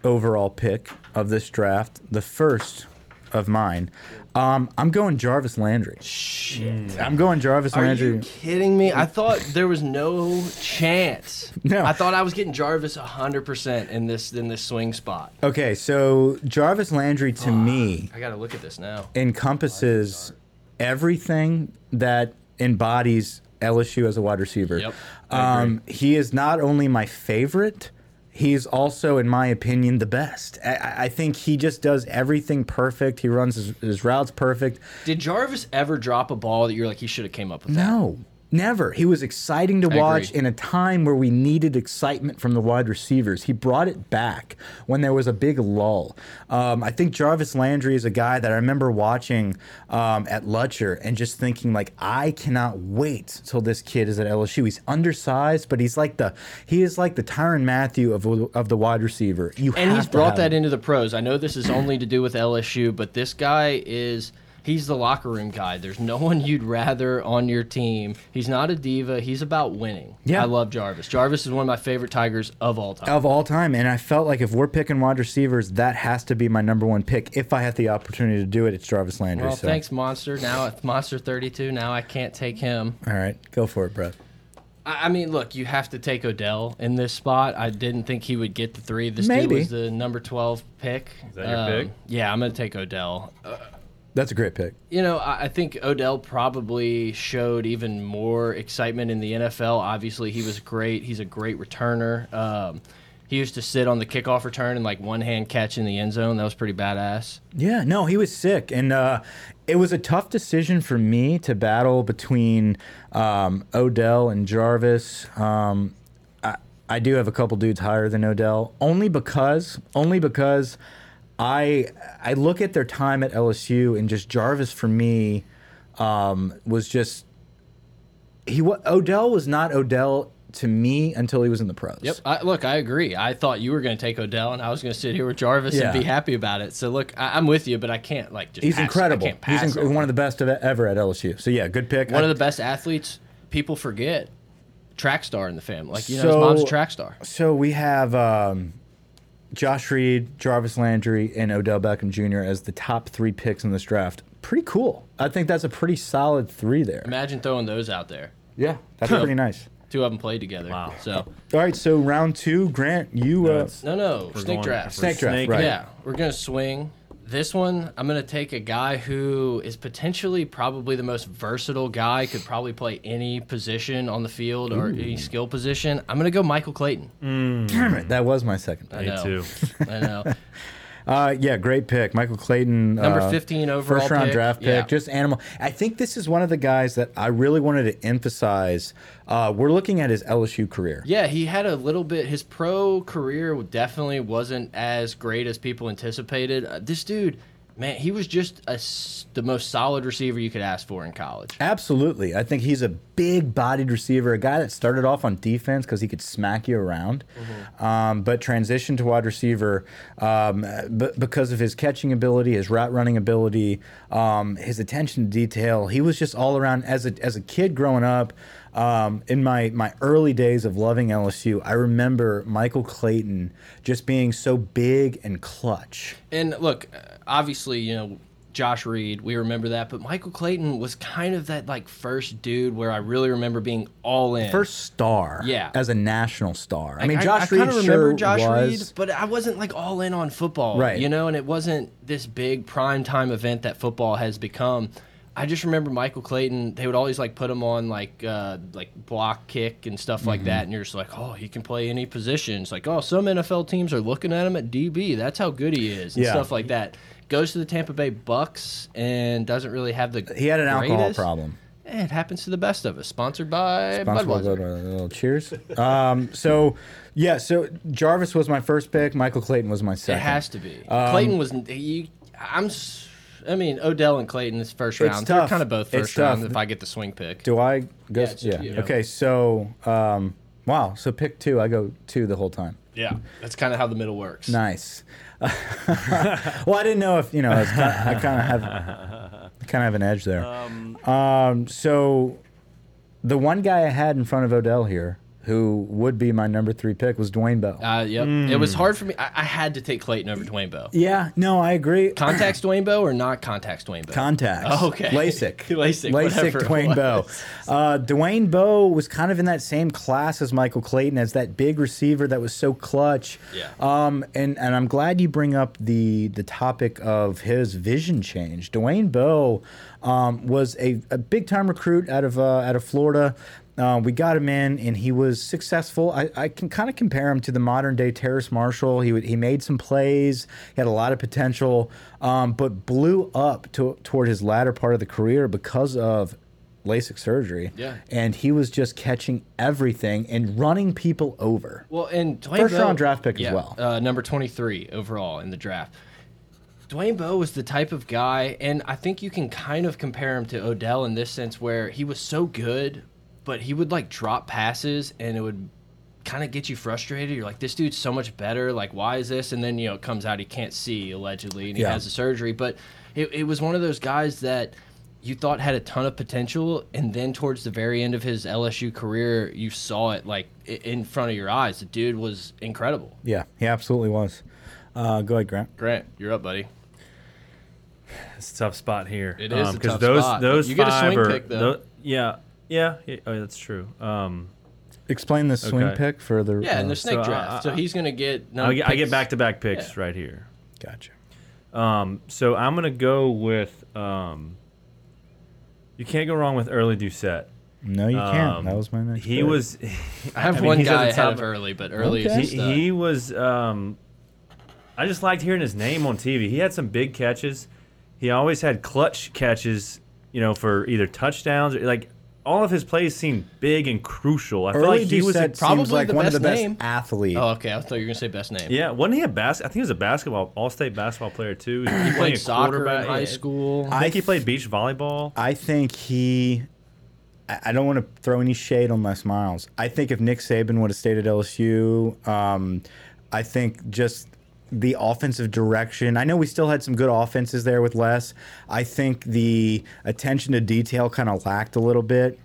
Speaker 2: overall pick of this draft, the first of mine, um, I'm going Jarvis Landry. Shit. I'm going Jarvis
Speaker 1: Are
Speaker 2: Landry.
Speaker 1: you kidding me? I thought there was no chance.
Speaker 2: No.
Speaker 1: I thought I was getting Jarvis 100% in this in this swing spot.
Speaker 2: Okay, so Jarvis Landry to me.
Speaker 1: I got to look at this now.
Speaker 2: encompasses everything that embodies LSU as a wide receiver.
Speaker 1: Yep,
Speaker 2: Um, he is not only my favorite, he's also, in my opinion, the best. I- I, I think he just does everything perfect. He runs his, his routes perfect.
Speaker 1: Did Jarvis ever drop a ball that you're like he should have came up with that?
Speaker 2: No, never. He was exciting to
Speaker 1: agree.
Speaker 2: watch in a time where we needed excitement from the wide receivers. He brought it back when there was a big lull. Um, I think Jarvis Landry is a guy that I remember watching um, at Lutcher and just thinking like, I cannot wait till this kid is at LSU. He's undersized, but he's like the he is like the Tyron Matthew of of the wide receiver. You
Speaker 1: And
Speaker 2: have
Speaker 1: he's
Speaker 2: to
Speaker 1: brought
Speaker 2: have
Speaker 1: that
Speaker 2: him.
Speaker 1: into the pros. I know this is only to do with LSU, but this guy is he's the locker room guy. There's no one you'd rather on your team. He's not a diva. He's about winning.
Speaker 2: Yeah.
Speaker 1: I love Jarvis. Jarvis is one of my favorite Tigers of all time.
Speaker 2: of all time. And I felt like if we're picking wide receivers, that has to be my number one pick. If I had the opportunity to do it, it's Jarvis Landry.
Speaker 1: Well,
Speaker 2: so.
Speaker 1: thanks, Monster. Now it's Monster 32. Now I can't take him.
Speaker 2: All right, go for it, Brett.
Speaker 1: I, I mean, look, you have to take Odell in this spot. I didn't think he would get the three. This dude
Speaker 2: Maybe.
Speaker 1: was the number 12 pick. Is
Speaker 3: that your pick?
Speaker 1: Yeah, I'm going to take Odell.
Speaker 2: That's a great pick.
Speaker 1: You know, I I think Odell probably showed even more excitement in the NFL. Obviously, he was great. He's a great returner. Um, he used to sit on the kickoff return and like one hand catch in the end zone. That was pretty badass.
Speaker 2: Yeah, no, he was sick, and uh, it was a tough decision for me to battle between um, Odell and Jarvis. Um, I, I do have a couple dudes higher than Odell, only because only because I I look at their time at LSU and just Jarvis for me um, was just he wa Odell was not Odell to me until he was in the pros.
Speaker 1: Yep. I, look, I agree. I thought you were going to take Odell, and I was going to sit here with Jarvis
Speaker 2: Yeah.
Speaker 1: and be happy about it. So look, I, I'm with you, but I can't like just.
Speaker 2: He's
Speaker 1: pass- I
Speaker 2: incredible.
Speaker 1: can't
Speaker 2: He's
Speaker 1: pass
Speaker 2: inc-
Speaker 1: him.
Speaker 2: one of the best of e-, ever at LSU. So yeah, good pick.
Speaker 1: one
Speaker 2: I-
Speaker 1: of the best athletes people forget. Track star in the family, like you know, his mom's a
Speaker 2: So-
Speaker 1: track star.
Speaker 2: So we have um, Josh Reed, Jarvis Landry, and Odell Beckham Jr. as the top three picks in this draft. Pretty cool. I think that's a pretty solid three there.
Speaker 1: Imagine throwing those out there.
Speaker 2: Yeah, that's pretty nice.
Speaker 1: Two of them played together.
Speaker 3: Wow.
Speaker 1: So
Speaker 2: All right, so round two, Grant, you. Uh,
Speaker 3: That's-
Speaker 1: no, no,
Speaker 3: we're
Speaker 1: snake
Speaker 3: going
Speaker 1: draft.
Speaker 3: for
Speaker 2: Snake draft, right.
Speaker 1: Yeah, we're gonna swing. This one, I'm gonna take a guy who is potentially probably the most versatile guy. Could probably play any position on the field or any skill position. I'm gonna go Michael Clayton.
Speaker 2: Mm-hmm. damn it, that was my second.
Speaker 1: I
Speaker 2: pick.
Speaker 3: Me
Speaker 1: know.
Speaker 3: too.
Speaker 1: I know.
Speaker 2: Uh, yeah, great pick, Michael Clayton.
Speaker 1: Number
Speaker 2: uh,
Speaker 1: 15 overall
Speaker 2: first round
Speaker 1: pick.
Speaker 2: draft pick.
Speaker 1: Yeah.
Speaker 2: Just animal. I think this is one of the guys that I really wanted to emphasize. Uh, we're looking at his LSU career.
Speaker 1: Yeah, he had a little bit. His pro career definitely wasn't as great as people anticipated. Uh, this dude, man, he was just a s the most solid receiver you could ask for in college.
Speaker 2: Absolutely. I think he's a big bodied receiver, a guy that started off on defense because he could smack you around,
Speaker 1: Mm-hmm.
Speaker 2: um, but transitioned to wide receiver um, b- because of his catching ability, his route running ability, um, his attention to detail. He was just all around. As a, as a kid growing up, um, in my, my early days of loving LSU, I remember Michael Clayton just being so big and clutch.
Speaker 1: And look, uh, obviously, you know, Josh Reed, we remember that, but Michael Clayton was kind of that like first dude where I really remember being all in.
Speaker 2: First star
Speaker 1: Yeah.
Speaker 2: as a national star. I mean,
Speaker 1: I-
Speaker 2: Josh
Speaker 1: I,
Speaker 2: Reed
Speaker 1: kinda remember
Speaker 2: sure
Speaker 1: Josh
Speaker 2: was.
Speaker 1: Reed, but I wasn't like all in on football,
Speaker 2: Right.
Speaker 1: You know, and it wasn't this big prime time event that football has become. I just remember Michael Clayton. They would always like put him on like uh, like block kick and stuff like
Speaker 2: Mm-hmm.
Speaker 1: that, and you're just like, oh, he can play any position. It's like, oh, some NFL teams are looking at him at DB. That's how good he is, and
Speaker 2: Yeah.
Speaker 1: stuff like that. Goes to the Tampa Bay Bucks and doesn't really have the.
Speaker 2: He had an alcohol
Speaker 1: greatest-
Speaker 2: problem.
Speaker 1: Eh, it happens to the best of us. Sponsored by
Speaker 2: Responsible
Speaker 1: Budweiser.
Speaker 2: voter. Little Oh, cheers. Um, so, yeah, so Jarvis was my first pick. Michael Clayton was my
Speaker 1: It
Speaker 2: second.
Speaker 1: has to be.
Speaker 2: Um,
Speaker 1: Clayton was. He, I'm. s- I mean, Odell and Clayton this first round. They're
Speaker 2: tough.
Speaker 1: kind of both
Speaker 2: It's
Speaker 1: first round.
Speaker 2: tough.
Speaker 1: If I get the swing pick,
Speaker 2: Do I go?
Speaker 1: Yeah, it's
Speaker 2: Yeah.
Speaker 1: you.
Speaker 2: Okay, so, um, wow. So pick two. I go two the whole time.
Speaker 1: yeah, that's kind of how the middle works.
Speaker 2: Nice. well, I didn't know if, you know, I, was kind of, I kind of have I kind of have an edge there. um, so the one guy I had in front of Odell here who would be my number three pick was Dwayne Bell.
Speaker 1: Uh, yep. It was hard for me. I, I had to take Clayton over Dwayne Bowe.
Speaker 2: Hmm. yeah, no, I agree.
Speaker 1: Contacts Dwayne Bowe or not contacts Dwayne Bowe?
Speaker 2: Contacts.
Speaker 1: Oh, okay.
Speaker 2: LASIK.
Speaker 1: LASIK,
Speaker 2: LASIK.
Speaker 1: whatever it
Speaker 2: Dwayne
Speaker 1: was.
Speaker 2: Bowe. Uh, Dwayne Bowe was kind of in that same class as Michael Clayton, as that big receiver that was so clutch.
Speaker 1: Yeah.
Speaker 2: Um, and and I'm glad you bring up the the topic of his vision change. Dwayne Bowe um, was a, a big time recruit out of uh, out of Florida. Uh, we got him in, and he was successful. I, I can kind of compare him to the modern day Terrace Marshall. He would, he made some plays, he had a lot of potential, um, but blew up to, toward his latter part of the career because of LASIK surgery.
Speaker 1: Yeah.
Speaker 2: and he was just catching everything and running people over.
Speaker 1: Well, and Dwayne
Speaker 2: First
Speaker 1: Bowe-
Speaker 2: round draft pick as
Speaker 1: yeah,
Speaker 2: well.
Speaker 1: uh, number twenty three overall in the draft. Dwayne Bowe was the type of guy, and I think you can kind of compare him to Odell in this sense, where he was so good, but he would like drop passes, and it would kind of get you frustrated. You're like, this dude's so much better. Like, why is this? And then you know, it comes out he can't see allegedly, and he
Speaker 2: Yeah.
Speaker 1: has the surgery. But it, it was one of those guys that you thought had a ton of potential, and then towards the very end of his LSU career, you saw it like i- in front of your eyes. The dude was incredible.
Speaker 2: Yeah, he absolutely was. Uh, go ahead, Grant.
Speaker 1: Grant, you're up, buddy.
Speaker 3: It's a tough spot here.
Speaker 1: It is a
Speaker 3: because
Speaker 1: tough
Speaker 3: those
Speaker 1: spot, but
Speaker 3: those
Speaker 1: you get a
Speaker 3: five
Speaker 1: swing
Speaker 3: are
Speaker 1: pick, though.
Speaker 3: tho- yeah yeah, yeah oh, that's true. Um,
Speaker 2: Explain this swing
Speaker 3: Okay.
Speaker 2: pick for the.
Speaker 1: Yeah,
Speaker 2: uh,
Speaker 1: and the snake
Speaker 3: so I-
Speaker 1: draft.
Speaker 3: I-
Speaker 1: so he's gonna get. No
Speaker 3: I get, I get
Speaker 1: picks.
Speaker 3: back to back picks right here.
Speaker 2: Gotcha.
Speaker 3: Um, so I'm gonna go with um, you can't go wrong with early Doucette.
Speaker 2: No, you
Speaker 3: Um,
Speaker 2: can't. That was my next.
Speaker 3: He
Speaker 2: pick.
Speaker 3: was.
Speaker 1: I have
Speaker 3: mean,
Speaker 1: one
Speaker 3: he's at
Speaker 1: guy
Speaker 3: the
Speaker 1: ahead
Speaker 3: top
Speaker 1: of
Speaker 3: of-
Speaker 1: early, but early
Speaker 2: Okay.
Speaker 1: is
Speaker 3: He,
Speaker 1: his stuff.
Speaker 3: he was. Um, I just liked hearing his name on TV. He had some big catches. He always had clutch catches, you know, for either touchdowns or like all of his plays seemed big and crucial. I feel
Speaker 2: Early
Speaker 3: like he was.
Speaker 2: Doucette
Speaker 1: probably
Speaker 2: seems like
Speaker 1: the
Speaker 2: one of
Speaker 1: best
Speaker 2: the best
Speaker 1: name.
Speaker 2: athlete.
Speaker 1: Oh, okay. I thought you were gonna say best name.
Speaker 3: yeah, wasn't he a bas? I think he was a basketball, all-state basketball player too. He
Speaker 1: He played soccer in
Speaker 3: quarterback.
Speaker 1: high
Speaker 3: Yeah.
Speaker 1: school.
Speaker 3: I think
Speaker 2: I
Speaker 3: he played beach volleyball.
Speaker 2: I think he. I I don't want to throw any shade on Les Miles. I think if Nick Saban would have stayed at LSU, um, I think just the offensive direction. I know we still had some good offenses there with Les. I think the attention to detail kind of lacked a little bit.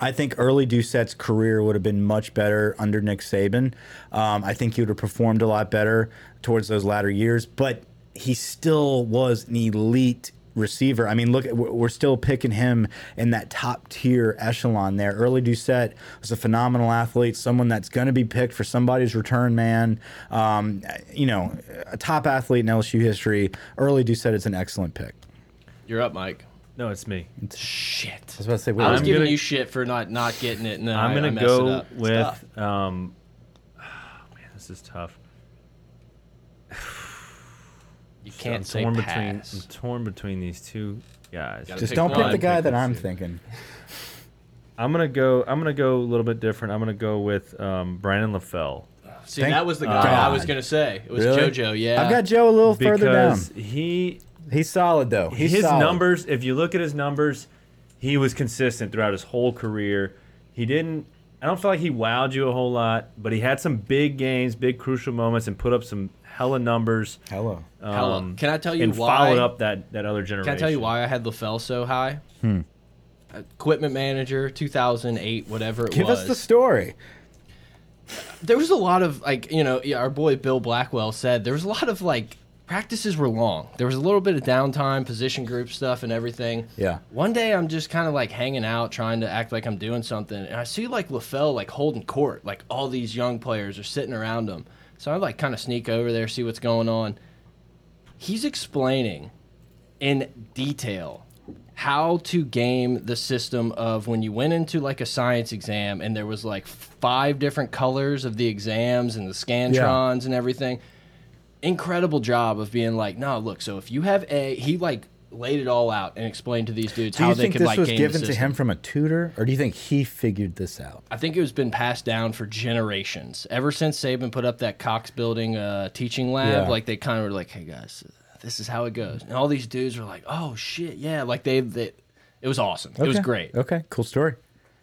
Speaker 2: I think early Doucette's career would have been much better under Nick Saban. Um, I think he would have performed a lot better towards those latter years, but he still was an elite receiver. I mean, look, at- we're we're still picking him in that top tier echelon there. Early Doucette was a phenomenal athlete, someone that's going to be picked for somebody's return man. Um, you know, a top athlete in LSU history. Early Doucette is an excellent pick.
Speaker 1: You're up, Mike.
Speaker 3: No, it's me.
Speaker 1: Shit.
Speaker 2: I was about to say, wait,
Speaker 1: I was
Speaker 2: wait.
Speaker 1: giving
Speaker 3: gonna-
Speaker 1: you shit for not not getting it, and then
Speaker 3: I'm
Speaker 1: I- I
Speaker 3: gonna
Speaker 1: messed it
Speaker 3: go
Speaker 1: up. It's tough.
Speaker 3: with. Um, man, this is tough.
Speaker 1: you can't
Speaker 3: I'm
Speaker 1: say
Speaker 3: torn between. Mm,
Speaker 1: pass.
Speaker 3: I'm torn between these two guys.
Speaker 1: Gotta
Speaker 2: just
Speaker 1: pick
Speaker 2: don't
Speaker 1: one.
Speaker 2: pick the guy that
Speaker 3: Pick
Speaker 2: I'm
Speaker 3: two.
Speaker 2: thinking.
Speaker 3: I'm gonna go. I'm gonna go a little bit different. I'm gonna go with um, Brandon LaFell
Speaker 1: See,
Speaker 2: Thank
Speaker 1: that was the guy I
Speaker 2: God.
Speaker 1: was gonna say. It was
Speaker 2: Really?
Speaker 1: JoJo. Yeah.
Speaker 2: I've got Joe a little further down.
Speaker 3: because he
Speaker 2: He's solid though. He's
Speaker 3: his
Speaker 2: solid.
Speaker 3: numbers. If you look at his numbers, he was consistent throughout his whole career. He didn't. I don't feel like he wowed you a whole lot, but he had some big games, big crucial moments, and put up some hella numbers. um,
Speaker 2: Hello.
Speaker 1: Hella. Can I tell you
Speaker 3: and
Speaker 1: why-
Speaker 3: followed up that that other generation.
Speaker 1: Can I tell you why I had LaFell so high? Hmm. Equipment manager, 2008, whatever it
Speaker 2: Give
Speaker 1: was.
Speaker 2: us the story.
Speaker 1: there was a lot of like you know yeah, our boy Bill Blackwell said there was a lot of like practices were long. There was a little bit of downtime, position group stuff, and everything.
Speaker 2: Yeah.
Speaker 1: One day I'm just kind of like hanging out, trying to act like I'm doing something, and I see like LaFell like holding court, like all these young players are sitting around him. So I like kind of sneak over there, see what's going on. He's explaining in detail how to game the system of when you went into like a science exam and there was like five different colors of the exams and the scantrons and everything incredible job of being like no look so if you have a he like laid it all out and explained to these dudes
Speaker 2: Do
Speaker 1: how
Speaker 2: you
Speaker 1: they
Speaker 2: think
Speaker 1: could
Speaker 2: this
Speaker 1: like
Speaker 2: was
Speaker 1: game
Speaker 2: given
Speaker 1: the
Speaker 2: to
Speaker 1: system.
Speaker 2: him from a tutor, or do you think he figured this out?
Speaker 1: I think it has been passed down for generations. Ever since Saban put up that Cox Building uh, teaching lab,
Speaker 2: Yeah.
Speaker 1: like they kind of were like, "Hey guys, this is how it goes," and all these dudes were like, "Oh shit, yeah!" Like they, they it was awesome. It was
Speaker 2: Okay.
Speaker 1: great.
Speaker 2: Okay, cool story.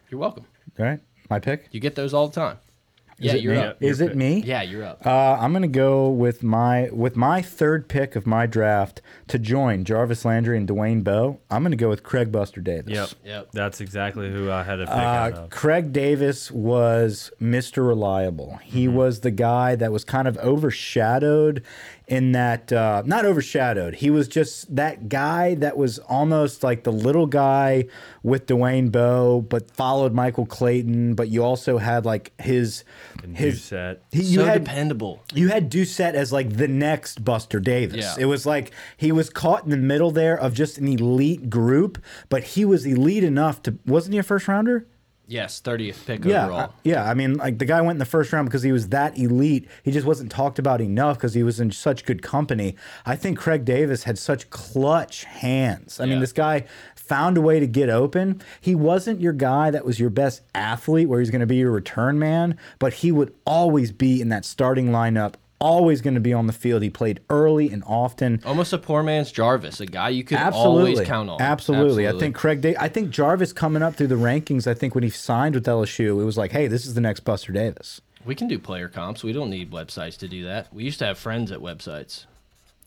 Speaker 1: You're welcome.
Speaker 2: All right, my pick.
Speaker 1: You get those all the time. yeah,
Speaker 2: it
Speaker 1: you're
Speaker 2: me?
Speaker 1: up.
Speaker 2: Is
Speaker 3: Your
Speaker 2: it
Speaker 3: pick.
Speaker 2: me?
Speaker 1: Yeah, you're up.
Speaker 2: Uh, I'm gonna go with my with my third pick of my draft to join Jarvis Landry and Dwayne Bowe. I'm gonna go with Craig Buster Davis.
Speaker 3: Yep.
Speaker 1: Yep.
Speaker 3: That's exactly who I had to pick out
Speaker 2: Uh,
Speaker 3: of.
Speaker 2: Craig Davis was Mr. Reliable. He was the guy that was kind of overshadowed in that, uh, not overshadowed. He was just that guy that was almost like the little guy with Dwayne Bowe, but followed Michael Clayton. But you also had like his his.
Speaker 3: Doucette.
Speaker 2: He, you
Speaker 1: so
Speaker 2: had
Speaker 1: dependable.
Speaker 2: you had Doucette as like the next Buster Davis.
Speaker 1: Yeah.
Speaker 2: It was like he was caught in the middle there of just an elite group, but he was elite enough to wasn't he a first rounder?
Speaker 1: Yes, thirtieth pick
Speaker 2: Yeah,
Speaker 1: overall.
Speaker 2: I- yeah. I mean, like the guy went in the first round because he was that elite. He just wasn't talked about enough because he was in such good company. I think Craig Davis had such clutch hands. I mean,
Speaker 1: Yeah.
Speaker 2: this guy found a way to get open. He wasn't your guy that was your best athlete, where he's going to be your return man, but he would always be in that starting lineup. Always going to be on the field. He played early and often.
Speaker 1: Almost a poor man's Jarvis, a guy you could
Speaker 2: Absolutely.
Speaker 1: always count on.
Speaker 2: Absolutely. I think Craig Davis, I think Jarvis coming up through the rankings, I think when he signed with LSU, it was like, hey, this is the next Buster Davis.
Speaker 1: we can do player comps. We don't need websites to do that. We used to have friends at websites.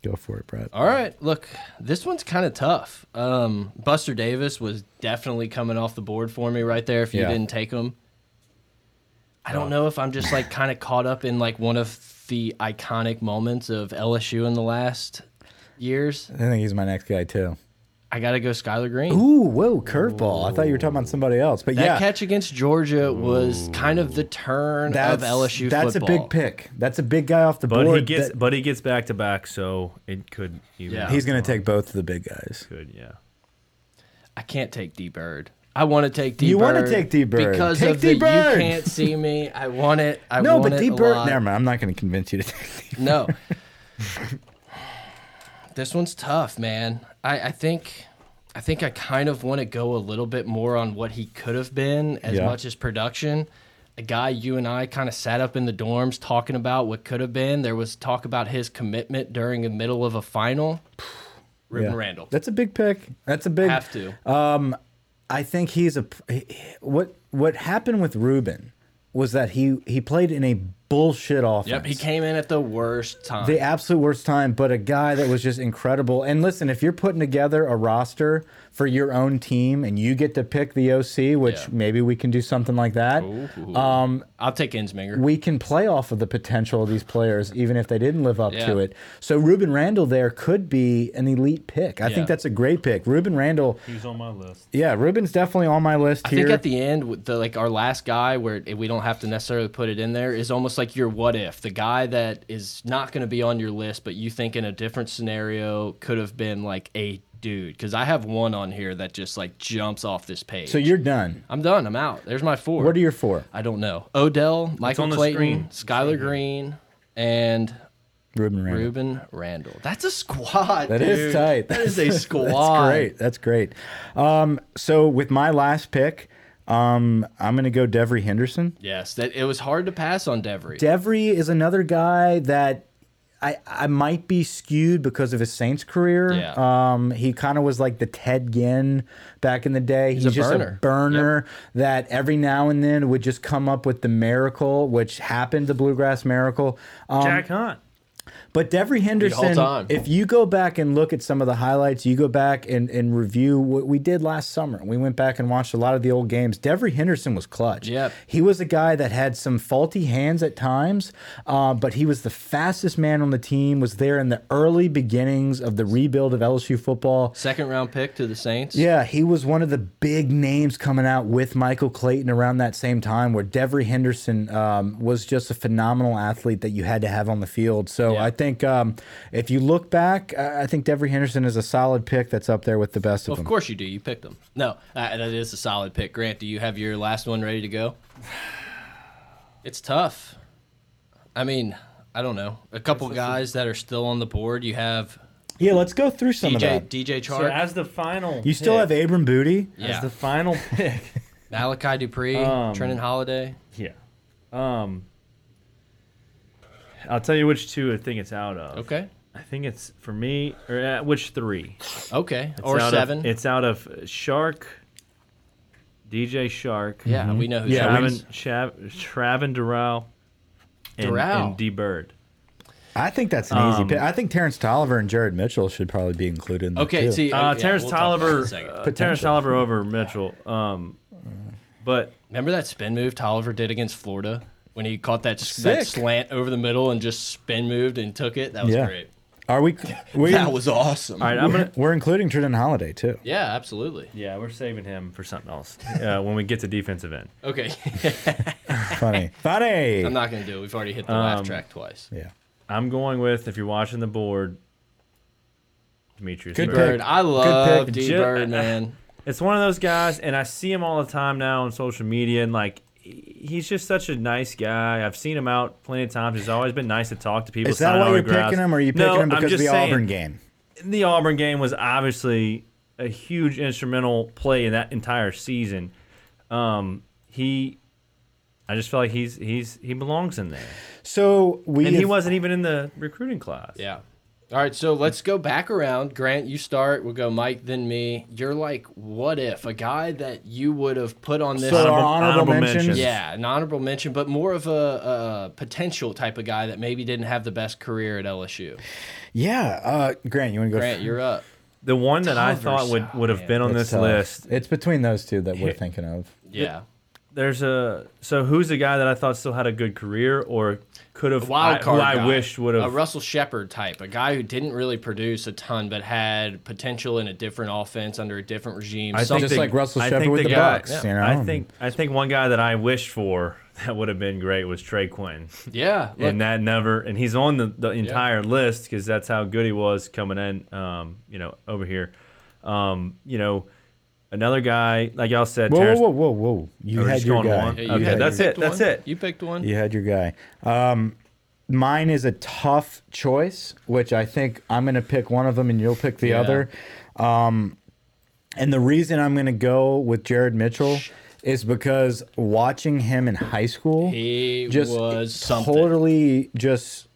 Speaker 2: Go for it, Brett.
Speaker 1: All right, look, this one's kind of tough. Um, Buster Davis was definitely coming off the board for me right there. If you
Speaker 2: Yeah. Oh.
Speaker 1: didn't take him, I don't know if I'm just like kind of caught up in like one of the iconic moments of LSU in the last years.
Speaker 2: I think he's my next guy too.
Speaker 1: I got to go Skylar Green.
Speaker 2: Ooh, whoa, curveball! I thought you were talking about somebody else, but
Speaker 1: that
Speaker 2: yeah,
Speaker 1: catch against Georgia was kind of the turn
Speaker 2: that's
Speaker 1: of LSU
Speaker 2: That's
Speaker 1: football.
Speaker 2: a big pick. That's a big guy off the
Speaker 3: But
Speaker 2: board.
Speaker 3: he gets
Speaker 2: that-
Speaker 3: but he gets back to back, so it could even
Speaker 1: Yeah.
Speaker 3: out
Speaker 2: he's going
Speaker 3: more.
Speaker 2: to take both of the big guys.
Speaker 3: Could yeah.
Speaker 1: I can't take D Bird. I want to take D
Speaker 2: You
Speaker 1: Bird.
Speaker 2: wanna take D. Bird.
Speaker 1: because
Speaker 2: Take
Speaker 1: of the
Speaker 2: D. Bird.
Speaker 1: you can't see me. I want it. I
Speaker 2: No,
Speaker 1: want
Speaker 2: but
Speaker 1: it
Speaker 2: D
Speaker 1: a
Speaker 2: Bird.
Speaker 1: lot.
Speaker 2: Never mind. I'm not going to convince you to take.
Speaker 1: No. this one's tough, man. I, I think I think I kind of want to go a little bit more on what he could have been as
Speaker 2: Yeah.
Speaker 1: much as production. A guy you and I kind of sat up in the dorms talking about what could have been. There was talk about his commitment during the middle of a final. Ruben
Speaker 2: Yeah.
Speaker 1: Randall.
Speaker 2: That's a big pick. That's a big.
Speaker 1: Have to.
Speaker 2: I think he's a he- he- what what happened with Ruben was that he he played in a bullshit offense.
Speaker 1: yep. He came in at the worst time.
Speaker 2: Uh, the absolute worst time, but a guy that was just incredible. And listen, if you're putting together a roster for your own team and you get to pick the OC, which
Speaker 1: Yeah.
Speaker 2: maybe we can do something like that.
Speaker 1: um, I'll take Insminger.
Speaker 2: We can play off of the potential of these players, even if they didn't live up to
Speaker 1: Yeah.
Speaker 2: it. So Ruben Randall there could be an elite pick. I
Speaker 1: Yeah.
Speaker 2: think that's a great pick. Ruben Randall,
Speaker 3: He's on my list.
Speaker 2: yeah, Ruben's definitely on my list
Speaker 1: I
Speaker 2: here.
Speaker 1: think at the end, with the, like our last guy, where it- we don't have to necessarily put it in there, is almost like your what if. The guy that is not going to be on your list, but you think in a different scenario could have been like a dude. Because I have one on here that just like jumps off this page.
Speaker 2: so you're done.
Speaker 1: I'm done. I'm out. There's my four.
Speaker 2: What are your four?
Speaker 1: I don't know. Odell, Michael
Speaker 3: on the
Speaker 1: Clayton,
Speaker 3: screen.
Speaker 1: Skylar Green, and
Speaker 2: Ruben Randall.
Speaker 1: Ruben Randall. That's a squad.
Speaker 2: That is
Speaker 1: dude.
Speaker 2: tight.
Speaker 1: That is a squad.
Speaker 2: That's great. That's great. Um, so with my last pick, um, I'm going to go Devry Henderson.
Speaker 1: Yes, that it was hard to pass on Devery.
Speaker 2: Devry is another guy that I I might be skewed because of his Saints career.
Speaker 1: Yeah.
Speaker 2: Um, he kind of was like the Ted Ginn back in the day. He's,
Speaker 1: a
Speaker 2: just
Speaker 1: burner.
Speaker 2: a burner that every now and then would just come up with the miracle, which happened, the Bluegrass Miracle. Um,
Speaker 3: Jack Hunt.
Speaker 2: But Devery Henderson,
Speaker 1: time.
Speaker 2: if you go back and look at some of the highlights, you go back and, and review what we did last summer. We went back and watched a lot of the old games. Devery Henderson was clutch.
Speaker 1: Yep.
Speaker 2: He was a guy that had some faulty hands at times, uh, but he was the fastest man on the team, was there in the early beginnings of the rebuild of LSU football.
Speaker 1: Second round pick to the Saints.
Speaker 2: Yeah, he was one of the big names coming out with Michael Clayton around that same time, where Devery Henderson um, was just a phenomenal athlete that you had to have on the field. So
Speaker 1: Yeah.
Speaker 2: I think um, if you look back, I I think Devery Henderson is a solid pick that's up there with the best of,
Speaker 1: Of
Speaker 2: them.
Speaker 1: course you do. You picked them. No, uh, that is a solid pick. Grant, do you have your last one ready to go? It's tough. I mean, I don't know. A couple guys that are still on the board. You have
Speaker 2: Yeah, let's go through some of
Speaker 1: DJ
Speaker 2: that.
Speaker 1: DJ
Speaker 3: So
Speaker 1: Chark,
Speaker 3: as the final,
Speaker 2: You still
Speaker 3: pick-
Speaker 2: have Abram Booty.
Speaker 1: Yeah.
Speaker 3: as the final pick.
Speaker 1: Malachi Dupree,
Speaker 3: Um,
Speaker 1: Trenton Holiday.
Speaker 3: yeah. Um. I'll tell you which two I think it's out of.
Speaker 1: Okay.
Speaker 3: I think it's for me, or uh, which three?
Speaker 1: Okay.
Speaker 3: It's
Speaker 1: or
Speaker 3: out of-
Speaker 1: seven.
Speaker 3: it's out of Shark, DJ Shark.
Speaker 1: yeah, we know who
Speaker 2: Yeah,
Speaker 1: Shark
Speaker 2: we-
Speaker 1: is.
Speaker 3: Travin, Chav, Travin Durrell, and,
Speaker 1: Durrell.
Speaker 3: and D Bird.
Speaker 2: I think that's an
Speaker 1: Um,
Speaker 2: easy pick. I think Terrence Tolliver and Jared Mitchell should probably be included in that.
Speaker 1: Okay,
Speaker 2: too.
Speaker 1: see.
Speaker 3: Uh,
Speaker 1: okay,
Speaker 3: Terrence
Speaker 1: we'll talk about that in
Speaker 3: Tolliver,
Speaker 1: a second.
Speaker 3: uh, Terrence Tolliver over Mitchell. Um, but
Speaker 1: Remember that spin move Tolliver did against Florida when he caught that, that
Speaker 2: Sick.
Speaker 1: slant over the middle and just spin moved and took it? That was
Speaker 2: Yeah.
Speaker 1: great.
Speaker 2: Are we? we
Speaker 1: That was awesome.
Speaker 3: all right, I'm gonna.
Speaker 2: we're including Tristan Holiday too.
Speaker 1: Yeah, absolutely.
Speaker 3: Yeah, we're saving him for something else uh, when we get to defensive end.
Speaker 1: Okay.
Speaker 2: Funny, funny.
Speaker 1: I'm not going to do it. We've already hit the
Speaker 2: Um,
Speaker 1: laugh track twice.
Speaker 2: yeah.
Speaker 3: I'm going with if you're watching the board, Demetrius.
Speaker 2: Good
Speaker 3: Bird.
Speaker 2: pick.
Speaker 1: Bird. I love
Speaker 2: pick.
Speaker 1: D
Speaker 3: Ju-
Speaker 1: Bird, man.
Speaker 3: It's one of those guys, and I see him all the time now on social media, and like he- he's just such a nice guy. I've seen him out plenty of times. He's always been nice to talk to people.
Speaker 2: Is that
Speaker 3: sign
Speaker 2: why you're
Speaker 3: autographs.
Speaker 2: picking him, or are you picking
Speaker 3: no,
Speaker 2: him
Speaker 3: I'm
Speaker 2: because of
Speaker 3: just
Speaker 2: the
Speaker 3: saying,
Speaker 2: Auburn game?
Speaker 3: The Auburn game was obviously a huge instrumental play in that entire season. Um, he, I just feel like he's he's he belongs in there,
Speaker 2: So we
Speaker 3: and he
Speaker 2: have-
Speaker 3: wasn't even in the recruiting class.
Speaker 1: Yeah. All right, so let's go back around. Grant, you start. We'll go Mike, then me. You're like, what if a guy that you would have put on this?
Speaker 2: so um, our
Speaker 3: Honorable-
Speaker 2: honorable,
Speaker 3: honorable
Speaker 2: mentions.
Speaker 3: mentions.
Speaker 1: yeah, an honorable mention, but more of a, a potential type of guy that maybe didn't have the best career at LSU.
Speaker 2: Yeah, uh, Grant, you want to go?
Speaker 1: Grant, you're up.
Speaker 3: The one that I
Speaker 1: Tolliver's
Speaker 3: thought would
Speaker 1: out,
Speaker 3: would have
Speaker 1: man.
Speaker 3: been on
Speaker 2: It's
Speaker 3: this
Speaker 2: tough.
Speaker 3: list
Speaker 2: It's between those two that we're thinking of.
Speaker 1: Yeah.
Speaker 3: there's a so who's the guy that I thought still had a good career or could have
Speaker 1: wild
Speaker 3: I-
Speaker 1: card
Speaker 3: who I
Speaker 1: guy.
Speaker 3: wished would
Speaker 1: a
Speaker 3: have
Speaker 1: Russell Shepard type, a guy who didn't really produce a ton but had potential in a different offense under a different regime.
Speaker 3: I
Speaker 1: Some-
Speaker 3: think
Speaker 2: Just
Speaker 3: they-
Speaker 2: like Russell
Speaker 3: I
Speaker 2: Shepard
Speaker 3: think
Speaker 2: with
Speaker 3: they
Speaker 2: the
Speaker 3: got-
Speaker 2: Bucks,
Speaker 3: yeah.
Speaker 2: you know?
Speaker 3: I think I think one guy that I wished for that would have been great was Trey Quinn,
Speaker 1: yeah, look,
Speaker 3: and that never and he's on the, the entire list because that's how good he was coming in. Um, you know, over here, um, you know, another guy like y'all said,
Speaker 2: Whoa,
Speaker 3: Terrence,
Speaker 2: whoa, whoa, whoa, whoa! You
Speaker 3: Or
Speaker 2: had
Speaker 3: just
Speaker 2: your
Speaker 3: going
Speaker 2: guy.
Speaker 3: one.
Speaker 1: Hey,
Speaker 2: You
Speaker 1: you
Speaker 3: Okay,
Speaker 1: had-
Speaker 2: had
Speaker 3: that's
Speaker 1: you
Speaker 3: it,
Speaker 1: picked
Speaker 3: that's
Speaker 1: one.
Speaker 3: it.
Speaker 1: You picked one.
Speaker 2: You had your guy. Um, mine is a tough choice, which I think I'm going to pick one of them and you'll pick the
Speaker 1: Yeah.
Speaker 2: other. Um, And the reason I'm going to go with Jared Mitchell is because watching him in high school,
Speaker 1: He
Speaker 2: just
Speaker 1: was something.
Speaker 2: totally just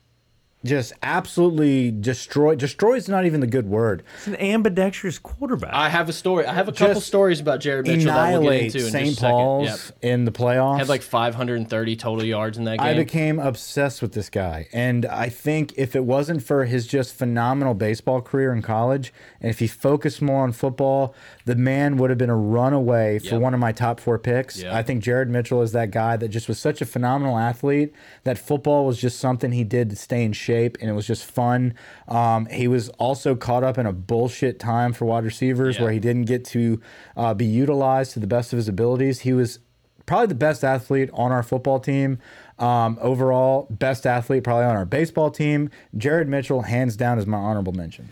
Speaker 2: just absolutely destroy destroy is not even the good word
Speaker 3: It's an ambidextrous quarterback.
Speaker 1: I have a story. I have a couple
Speaker 2: Just
Speaker 1: stories about Jared Mitchell that we'll get
Speaker 2: annihilate
Speaker 1: into in
Speaker 2: St.
Speaker 1: just a second.
Speaker 2: Paul's
Speaker 1: Yep.
Speaker 2: in the playoffs
Speaker 1: Had like 530 total yards in that game.
Speaker 2: I became obsessed with this guy. And I think if it wasn't for his just phenomenal baseball career in college, and if he focused more on football, the man would have been a runaway for
Speaker 1: Yep.
Speaker 2: one of my top four picks.
Speaker 1: Yep.
Speaker 2: I think Jared Mitchell is that guy that just was such a phenomenal athlete that football was just something he did to stay in shape, and it was just fun. Um, he was also caught up in a bullshit time for wide receivers
Speaker 1: Yeah.
Speaker 2: where he didn't get to uh, be utilized to the best of his abilities. He was probably the best athlete on our football team. Um, overall, best athlete probably on our baseball team. Jared Mitchell, hands down, is my honorable mention.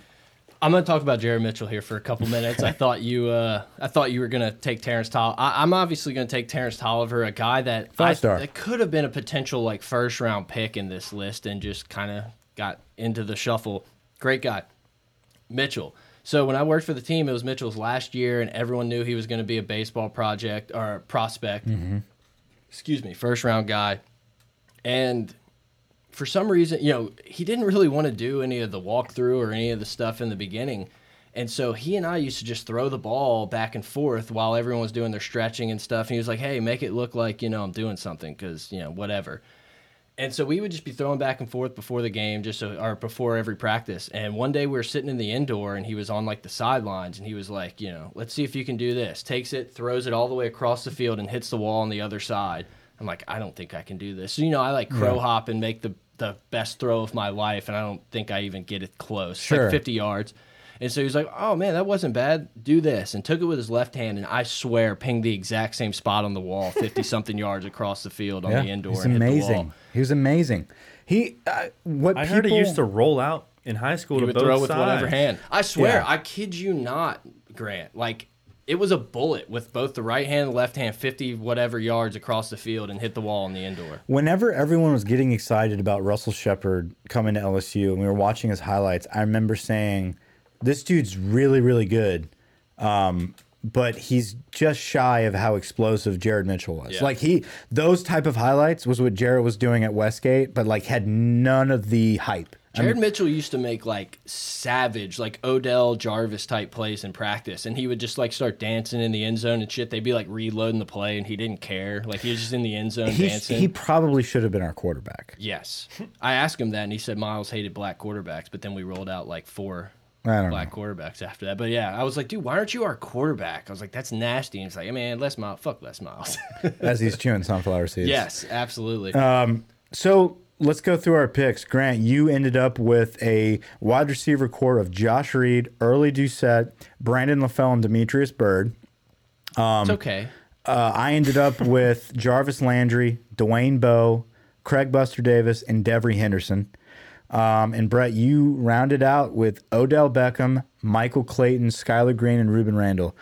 Speaker 1: I'm going to talk about Jared Mitchell here for a couple minutes. I thought you, uh, I thought you were going to take Terrence Tolliver. I'm obviously going to take Terrence Tolliver, a guy that I-
Speaker 2: star.
Speaker 1: that could have been a potential like first round pick in this list, and just kind of got into the shuffle. Great guy, Mitchell. So when I worked for the team, it was Mitchell's last year, and everyone knew he was going to be a baseball project or prospect. Excuse me, first round guy, and for some reason, you know, he didn't really want to do any of the walkthrough or any of the stuff in the beginning. And so he and I used to just throw the ball back and forth while everyone was doing their stretching and stuff. And he was like, hey, make it look like, you know, I'm doing something because, you know, whatever. And so we would just be throwing back and forth before the game, just so, or before every practice. And one day we were sitting in the indoor, and he was on like the sidelines, and he was like, you know, let's see if you can do this. Takes it, throws it all the way across the field, and hits the wall on the other side. I'm like, I don't think I can do this. So you know, I like crow hop and make the the best throw of my life, and I don't think I even get it close. It's
Speaker 2: Sure.
Speaker 1: like 50 yards. And so he was like, "Oh man, that wasn't bad. Do this." And took it with his left hand, and I swear, pinged the exact same spot on the wall, 50 something yards across the field on the indoor.
Speaker 2: he's
Speaker 1: and hit the wall.
Speaker 2: amazing. He was amazing. He, uh, what
Speaker 3: I
Speaker 2: people
Speaker 3: heard he used to roll out in high school
Speaker 1: He
Speaker 3: to
Speaker 1: would
Speaker 3: both
Speaker 1: throw with
Speaker 3: sides.
Speaker 1: whatever hand. I swear,
Speaker 2: Yeah.
Speaker 1: I kid you not, Grant. Like it was a bullet with both the right hand and left hand, fifty whatever yards across the field and hit the wall in the indoor.
Speaker 2: Whenever everyone was getting excited about Russell Shepard coming to LSU and we were watching his highlights, I remember saying, "This dude's really, really good." Um, but he's just shy of how explosive Jared Mitchell was.
Speaker 1: Yeah.
Speaker 2: Like he, those type of highlights was what Jared was doing at Westgate, but like had none of the hype.
Speaker 1: Jared Mitchell used to make like savage, like Odell Jarvis type plays in practice, and he would just like start dancing in the end zone and shit. They'd be like reloading the play, and he didn't care. Like he was just in the end zone
Speaker 2: He,
Speaker 1: dancing.
Speaker 2: he probably should have been our quarterback.
Speaker 1: yes, I asked him that, and he said Miles hated black quarterbacks, but then we rolled out like four
Speaker 2: I don't
Speaker 1: black quarterbacks after that. But yeah, I was like, dude, why aren't you our quarterback? I was like, that's nasty. And it's like, man, Les Miles, fuck Les Miles.
Speaker 2: know. As he's chewing sunflower seeds.
Speaker 1: yes, absolutely.
Speaker 2: Um, So let's go through our picks. Grant, you ended up with a wide receiver core of Josh Reed, Early Doucette, Brandon LaFell, and Demetrius Bird.
Speaker 1: it's okay.
Speaker 2: Uh, I ended up with Jarvis Landry, Dwayne Bowe, Craig Buster Davis, and Devery Henderson. Um, and Brett, you rounded out with Odell Beckham, Michael Clayton, Skylar Green, and Ruben Randall.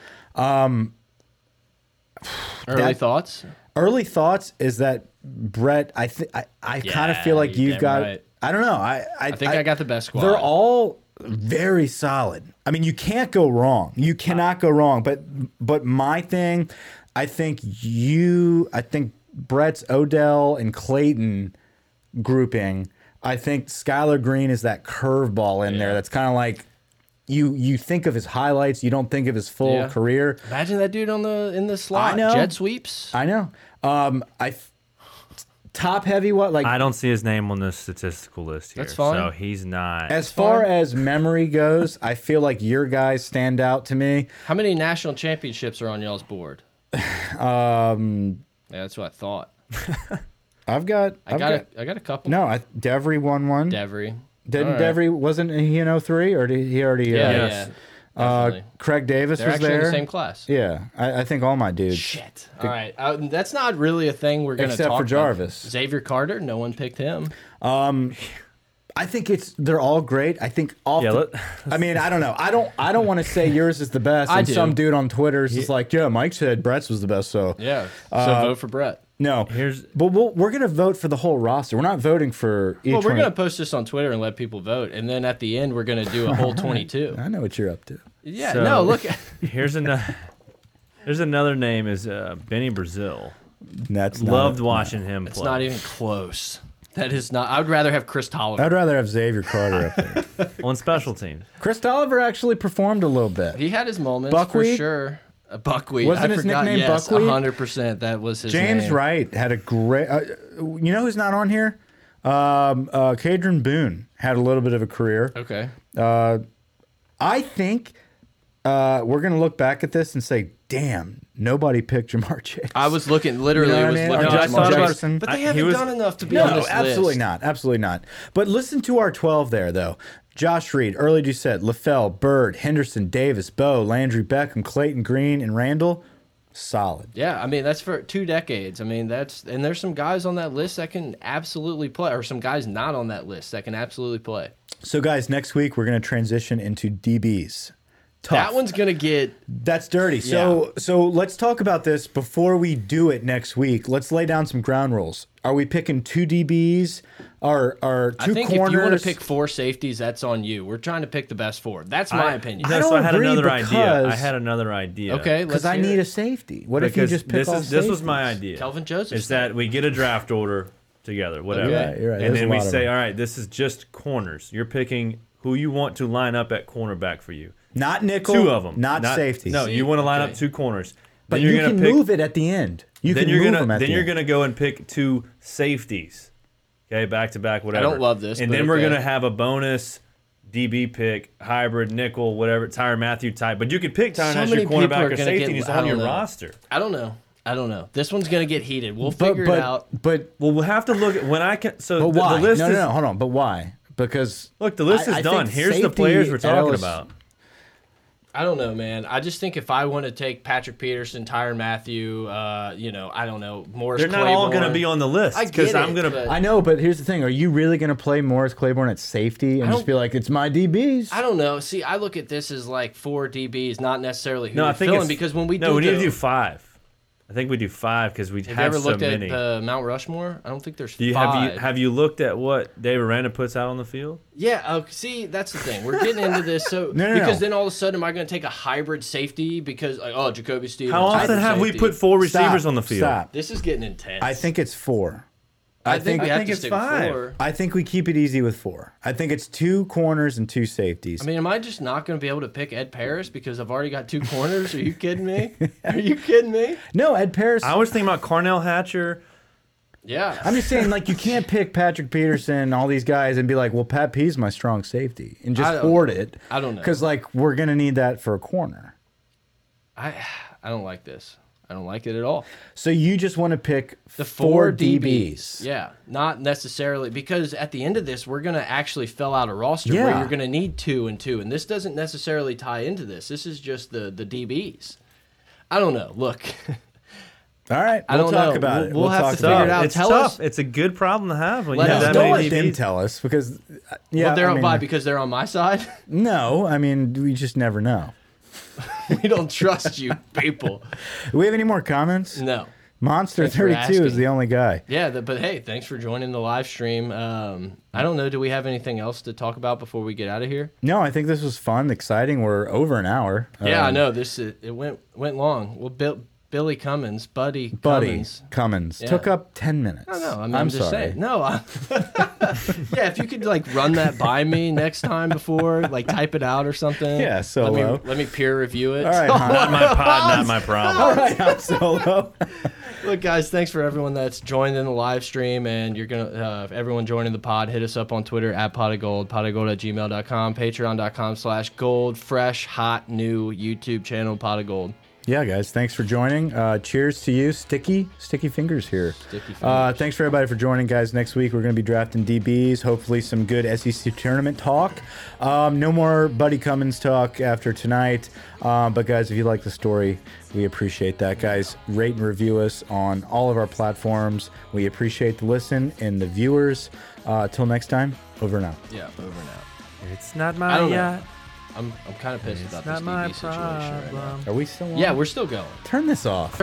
Speaker 1: Early
Speaker 2: that-
Speaker 1: thoughts?
Speaker 2: Early thoughts is that Brett, I th- I, I kind of
Speaker 1: Yeah,
Speaker 2: feel like
Speaker 1: you're
Speaker 2: you've
Speaker 1: damn
Speaker 2: got.
Speaker 1: right.
Speaker 2: I don't know. I I,
Speaker 1: I think I, got the best squad.
Speaker 2: They're all very solid. I mean, you can't go wrong. You cannot go wrong. But but my thing, I think you, I think Brett's Odell and Clayton grouping. I think Skylar Green is that curveball in there. That's kind of like you you think of his highlights. You don't think of his full
Speaker 1: Yeah.
Speaker 2: career.
Speaker 1: Imagine that dude on the in the slot.
Speaker 2: know.
Speaker 1: Jet sweeps.
Speaker 2: I know. Um, I f- top heavy what like
Speaker 3: I don't see his name on the statistical list here.
Speaker 1: That's fine.
Speaker 3: So he's not.
Speaker 2: as far
Speaker 1: fine.
Speaker 2: as memory goes. I feel like your guys stand out to me.
Speaker 1: How many national championships are on y'all's board? um, yeah, that's what I thought.
Speaker 2: I've got
Speaker 1: I
Speaker 2: I've
Speaker 1: got, a, I got a couple.
Speaker 2: No, I, Devery won one.
Speaker 1: Devery.
Speaker 2: Didn't
Speaker 1: All right.
Speaker 2: Devery wasn't he in 03 or did he already?
Speaker 1: Yeah,
Speaker 2: uh,
Speaker 3: Yes.
Speaker 1: yeah.
Speaker 2: Uh,
Speaker 1: definitely.
Speaker 2: Craig Davis
Speaker 1: They're
Speaker 2: was
Speaker 1: actually
Speaker 2: there.
Speaker 1: in the same class.
Speaker 2: Yeah, I, I think all my dudes.
Speaker 1: Shit. All right. Uh, that's not really a thing we're going to talk
Speaker 2: Except for
Speaker 1: about.
Speaker 2: Jarvis.
Speaker 1: Xavier Carter. No one picked him.
Speaker 2: I think it's they're all great. I think all.
Speaker 3: Yeah, let-
Speaker 2: I mean, I don't know. I don't. I don't want to say yours is the best.
Speaker 1: I
Speaker 2: and
Speaker 1: do.
Speaker 2: some dude on Twitter is just like, yeah, Mike said Brett's was the best. So
Speaker 1: Yeah. So
Speaker 2: Uh,
Speaker 1: vote for Brett.
Speaker 2: no.
Speaker 3: Here's-
Speaker 2: but we'll, we're gonna vote for the whole roster. We're not voting for each
Speaker 1: Well, we're
Speaker 2: one.
Speaker 1: going to post this on Twitter and let people vote, and then at the end we're going to do a whole 22.
Speaker 2: I know what you're up to.
Speaker 1: Yeah,
Speaker 3: So-
Speaker 1: no, look.
Speaker 3: Here's another. There's another name is uh, Benny Brazil.
Speaker 2: That's not
Speaker 3: Loved
Speaker 2: a-
Speaker 3: watching him
Speaker 1: It's
Speaker 3: play.
Speaker 1: not even close. That is not. I would rather have Chris Tolliver.
Speaker 2: I'd rather have Xavier Carter up there.
Speaker 3: on special teams.
Speaker 2: Chris Tolliver actually performed a little bit.
Speaker 1: He had his moments for
Speaker 2: Buckwheat?
Speaker 1: sure. Uh, buckwheat.
Speaker 2: Wasn't
Speaker 1: I
Speaker 2: his
Speaker 1: forgot.
Speaker 2: nickname
Speaker 1: yes,
Speaker 2: Buckwheat?
Speaker 1: hundred percent. That was his
Speaker 2: James
Speaker 1: name.
Speaker 2: Wright had a great. Uh, you know who's not on here? Um, uh, Cadron Boone had a little bit of a career.
Speaker 1: Okay.
Speaker 2: I think uh, we're going to look back at this and say, "Damn, nobody picked Jamar Chase."
Speaker 1: I was looking. Literally,
Speaker 2: You know what I
Speaker 1: was
Speaker 2: mean?
Speaker 1: looking.
Speaker 2: Or
Speaker 1: at
Speaker 3: Justin
Speaker 1: Jamar Chase.
Speaker 2: Jefferson.
Speaker 1: But
Speaker 3: I-
Speaker 1: they
Speaker 3: he
Speaker 1: haven't
Speaker 3: was-
Speaker 1: done enough to be on
Speaker 2: no,
Speaker 1: this
Speaker 2: absolutely
Speaker 1: list.
Speaker 2: not, absolutely not. But listen to our twelve there, though. Josh Reed, early Doucette, LaFell, Bird, Henderson, Davis, Bowe, Landry Beckham, Clayton Green, and Randall. Solid.
Speaker 1: Yeah, I mean that's for two decades. I mean that's and there's some guys on that list that can absolutely play, or some guys not on that list that can absolutely play.
Speaker 2: So, guys, next week we're going to transition into DBs. Tough.
Speaker 1: That one's gonna get
Speaker 2: That's dirty. So so let's talk about this before we do it next week. Let's lay down some ground rules. Are we picking two DBs? Are are two
Speaker 1: I think
Speaker 2: corners?
Speaker 1: if you want to pick four safeties, that's on you. We're trying to pick the best four. That's my
Speaker 3: I-
Speaker 1: opinion.
Speaker 3: No,
Speaker 2: I
Speaker 3: so I
Speaker 2: don't
Speaker 3: had
Speaker 2: agree
Speaker 3: another idea. I
Speaker 2: because-
Speaker 3: had another idea.
Speaker 1: okay,
Speaker 2: because
Speaker 1: let's
Speaker 2: I
Speaker 1: hear
Speaker 2: need
Speaker 1: it.
Speaker 2: a safety. What if you
Speaker 3: Because
Speaker 2: just pick
Speaker 3: this
Speaker 2: all
Speaker 3: is this was my
Speaker 2: safeties?
Speaker 3: idea.
Speaker 1: Kelvin Joseph's
Speaker 3: is that we get a draft order together, whatever,
Speaker 1: You're right,
Speaker 2: you're right.
Speaker 3: and
Speaker 2: There's
Speaker 3: then
Speaker 2: a
Speaker 3: we
Speaker 2: lot of
Speaker 3: say,
Speaker 2: them.
Speaker 3: all right, this is just corners. You're picking who you want to line up at cornerback for you.
Speaker 2: Not nickel.
Speaker 3: Two of them,
Speaker 2: Not, safety.
Speaker 3: No,
Speaker 1: See,
Speaker 3: you want to line
Speaker 1: okay.
Speaker 3: up two corners.
Speaker 2: but
Speaker 3: then you're
Speaker 2: you
Speaker 3: gonna
Speaker 2: can
Speaker 3: pick,
Speaker 2: move it at the end. You
Speaker 3: then
Speaker 2: can
Speaker 3: you're
Speaker 2: move
Speaker 3: gonna
Speaker 2: them at
Speaker 3: then
Speaker 2: the
Speaker 3: you're
Speaker 2: end.
Speaker 3: gonna go and pick two safeties. Okay, back to back, whatever.
Speaker 1: love this,
Speaker 3: And
Speaker 1: but
Speaker 3: then we're
Speaker 1: okay.
Speaker 3: gonna have a bonus DB pick, hybrid nickel, whatever, Tyron Matthew type. But you could pick Tyron
Speaker 1: So
Speaker 3: as
Speaker 1: many
Speaker 3: your
Speaker 1: people are
Speaker 3: cornerback or
Speaker 1: gonna
Speaker 3: safety,
Speaker 1: get-
Speaker 3: and he's
Speaker 1: I
Speaker 3: on
Speaker 1: don't
Speaker 3: your
Speaker 1: know.
Speaker 3: roster.
Speaker 1: I don't know. I don't know. This one's gonna get heated. We'll
Speaker 2: but,
Speaker 1: figure
Speaker 2: but,
Speaker 1: it out.
Speaker 2: But
Speaker 3: Well, we'll have to look at when I can. So
Speaker 2: but
Speaker 3: the,
Speaker 2: why?
Speaker 3: the list
Speaker 2: no,
Speaker 3: is
Speaker 2: no, no. Hold on. But why? Because
Speaker 3: look. The list
Speaker 2: I-
Speaker 3: is
Speaker 2: I think
Speaker 3: done. Here's the
Speaker 2: safety
Speaker 3: players we're
Speaker 2: at
Speaker 3: talking
Speaker 2: LSU
Speaker 3: about.
Speaker 1: I don't know, man. I just think if I want to take Patrick Peterson, Tyron Matthew, uh, you know, I don't know, Morris.
Speaker 3: They're not all going to
Speaker 1: Claiborne.
Speaker 3: be on the list
Speaker 1: I get
Speaker 3: because I'm
Speaker 1: it,
Speaker 3: going
Speaker 1: but-
Speaker 3: to.
Speaker 2: I know, but here's the thing: Are you really going to play Morris Claiborne at safety and
Speaker 1: I
Speaker 2: just
Speaker 1: don't-
Speaker 2: be like, "It's my DBs"?
Speaker 1: I don't know. See, I look at this as like four DBs, not necessarily who
Speaker 3: No,
Speaker 1: you're
Speaker 3: I think
Speaker 1: filling
Speaker 3: it's,
Speaker 1: because when we
Speaker 3: no,
Speaker 1: do
Speaker 3: we need to
Speaker 1: the-
Speaker 3: do five. I think we do five because we have,
Speaker 1: Have you ever
Speaker 3: so
Speaker 1: looked
Speaker 3: many.
Speaker 1: at uh, Mount Rushmore? I don't think there's
Speaker 3: do you
Speaker 1: five.
Speaker 3: have you have you looked at what Dave Aranda puts out on the field?
Speaker 1: yeah, uh, see, that's the thing. We're getting into this, so
Speaker 2: No, no,
Speaker 1: because
Speaker 2: no.
Speaker 1: then all of a sudden, am I going to take a hybrid safety because like, oh, Jacoby Stevens?
Speaker 3: How often
Speaker 1: hybrid
Speaker 3: have we
Speaker 1: safety.
Speaker 3: put four
Speaker 2: Stop,
Speaker 3: receivers on the field?
Speaker 2: Stop.
Speaker 1: This is getting intense.
Speaker 2: I think it's four.
Speaker 1: I think
Speaker 2: think-
Speaker 1: we
Speaker 3: I
Speaker 1: have
Speaker 3: think
Speaker 1: to
Speaker 3: it's
Speaker 1: stick with
Speaker 3: five.
Speaker 1: four.
Speaker 2: I think we keep it easy with four. I think it's two corners and two safeties.
Speaker 1: I mean, am I just not going to be able to pick Ed Paris because I've already got two corners? Are you kidding me? Are you kidding me?
Speaker 2: no, Ed Paris.
Speaker 3: I was thinking about Carnell Hatcher.
Speaker 1: Yeah.
Speaker 2: I'm just saying, like, you can't pick Patrick Peterson and all these guys and be like, well, Pat P's my strong safety and
Speaker 1: I
Speaker 2: just
Speaker 1: don't-
Speaker 2: hoard it.
Speaker 1: I don't know.
Speaker 2: Because, like, we're going to need that for a corner.
Speaker 1: I I don't like this. I don't like it at all.
Speaker 2: So you just want to pick
Speaker 1: The
Speaker 2: four,
Speaker 1: four,
Speaker 2: DBs.
Speaker 1: Yeah, not necessarily because at the end of this, we're going to actually fill out a roster where
Speaker 2: Yeah.
Speaker 1: you're going to need two and two, and this doesn't necessarily tie into this. This is just the the DBs. I don't know. Look,
Speaker 2: All right.
Speaker 1: I
Speaker 2: We'll
Speaker 1: don't
Speaker 2: talk
Speaker 1: know.
Speaker 2: about
Speaker 1: We'll-
Speaker 2: it.
Speaker 1: we'll have
Speaker 2: talk
Speaker 1: to
Speaker 2: about
Speaker 1: figure it out.
Speaker 3: It's
Speaker 1: Tell
Speaker 3: tough.
Speaker 1: us-
Speaker 3: It's a good problem to have when you
Speaker 1: Let
Speaker 3: have
Speaker 1: us
Speaker 3: that
Speaker 1: know.
Speaker 2: Don't
Speaker 3: many
Speaker 2: let them
Speaker 3: DBs.
Speaker 2: tell us because, uh, yeah.
Speaker 1: well, they're
Speaker 2: I
Speaker 1: on
Speaker 2: mean,
Speaker 1: by because they're on my side.
Speaker 2: No, I mean, we just never know.
Speaker 1: we don't trust you people.
Speaker 2: Do we have any more comments?
Speaker 1: No.
Speaker 2: Monster
Speaker 1: Mm. for
Speaker 2: 32 is
Speaker 1: asking.
Speaker 2: the only guy.
Speaker 1: Yeah, the, but hey, thanks for joining the live stream. Um, I don't know. Do we have anything else to talk about before we get out of here?
Speaker 2: No, I think this was fun, exciting. We're over an hour.
Speaker 1: yeah, I
Speaker 2: Um,
Speaker 1: know this. It, it went went long. Well, Bill, Billy Cummins, Buddy,
Speaker 2: Buddy
Speaker 1: Cummins.
Speaker 2: Cummins, took up 10 minutes.
Speaker 1: No, no, I mean,
Speaker 2: I'm
Speaker 1: I'm, just
Speaker 2: sorry.
Speaker 1: saying. No, I, yeah, if you could like run that by me next time before, like type it out or something.
Speaker 2: Yeah,
Speaker 1: Let me,
Speaker 2: solo.
Speaker 1: let me peer review it.
Speaker 2: All right, Han,
Speaker 3: Not my pod, not my problem.
Speaker 2: All right, Han Solo.
Speaker 1: Look, guys, thanks for everyone that's joined in the live stream, and you're gonna uh, everyone joining the pod. Hit us up on Twitter at pot of gold, pot of gold at gmail.com, patreon.com slash gold, fresh, hot, new YouTube channel, pot of gold.
Speaker 2: Yeah, guys, thanks for joining. Uh, cheers to you. Sticky, sticky fingers here.
Speaker 1: Sticky
Speaker 2: Uh, thanks for everybody for joining, guys. Next week, we're going to be drafting DBs, hopefully, some good SEC tournament talk. Um, no more Buddy Cummins talk after tonight. Um, but, guys, if you like the story, we appreciate that. Guys, rate and review us on all of our platforms. We appreciate the listen and the viewers. Uh, till next time, over and out.
Speaker 1: Yeah, over now.
Speaker 3: It's not
Speaker 1: I
Speaker 3: my
Speaker 1: don't know.
Speaker 3: yacht.
Speaker 1: I'm I'm kind of pissed
Speaker 3: It's
Speaker 1: about
Speaker 3: not
Speaker 1: this
Speaker 3: my
Speaker 1: DB situation right now.
Speaker 3: problem.
Speaker 2: Are we still on?
Speaker 1: Yeah, we're still going.
Speaker 2: Turn this off.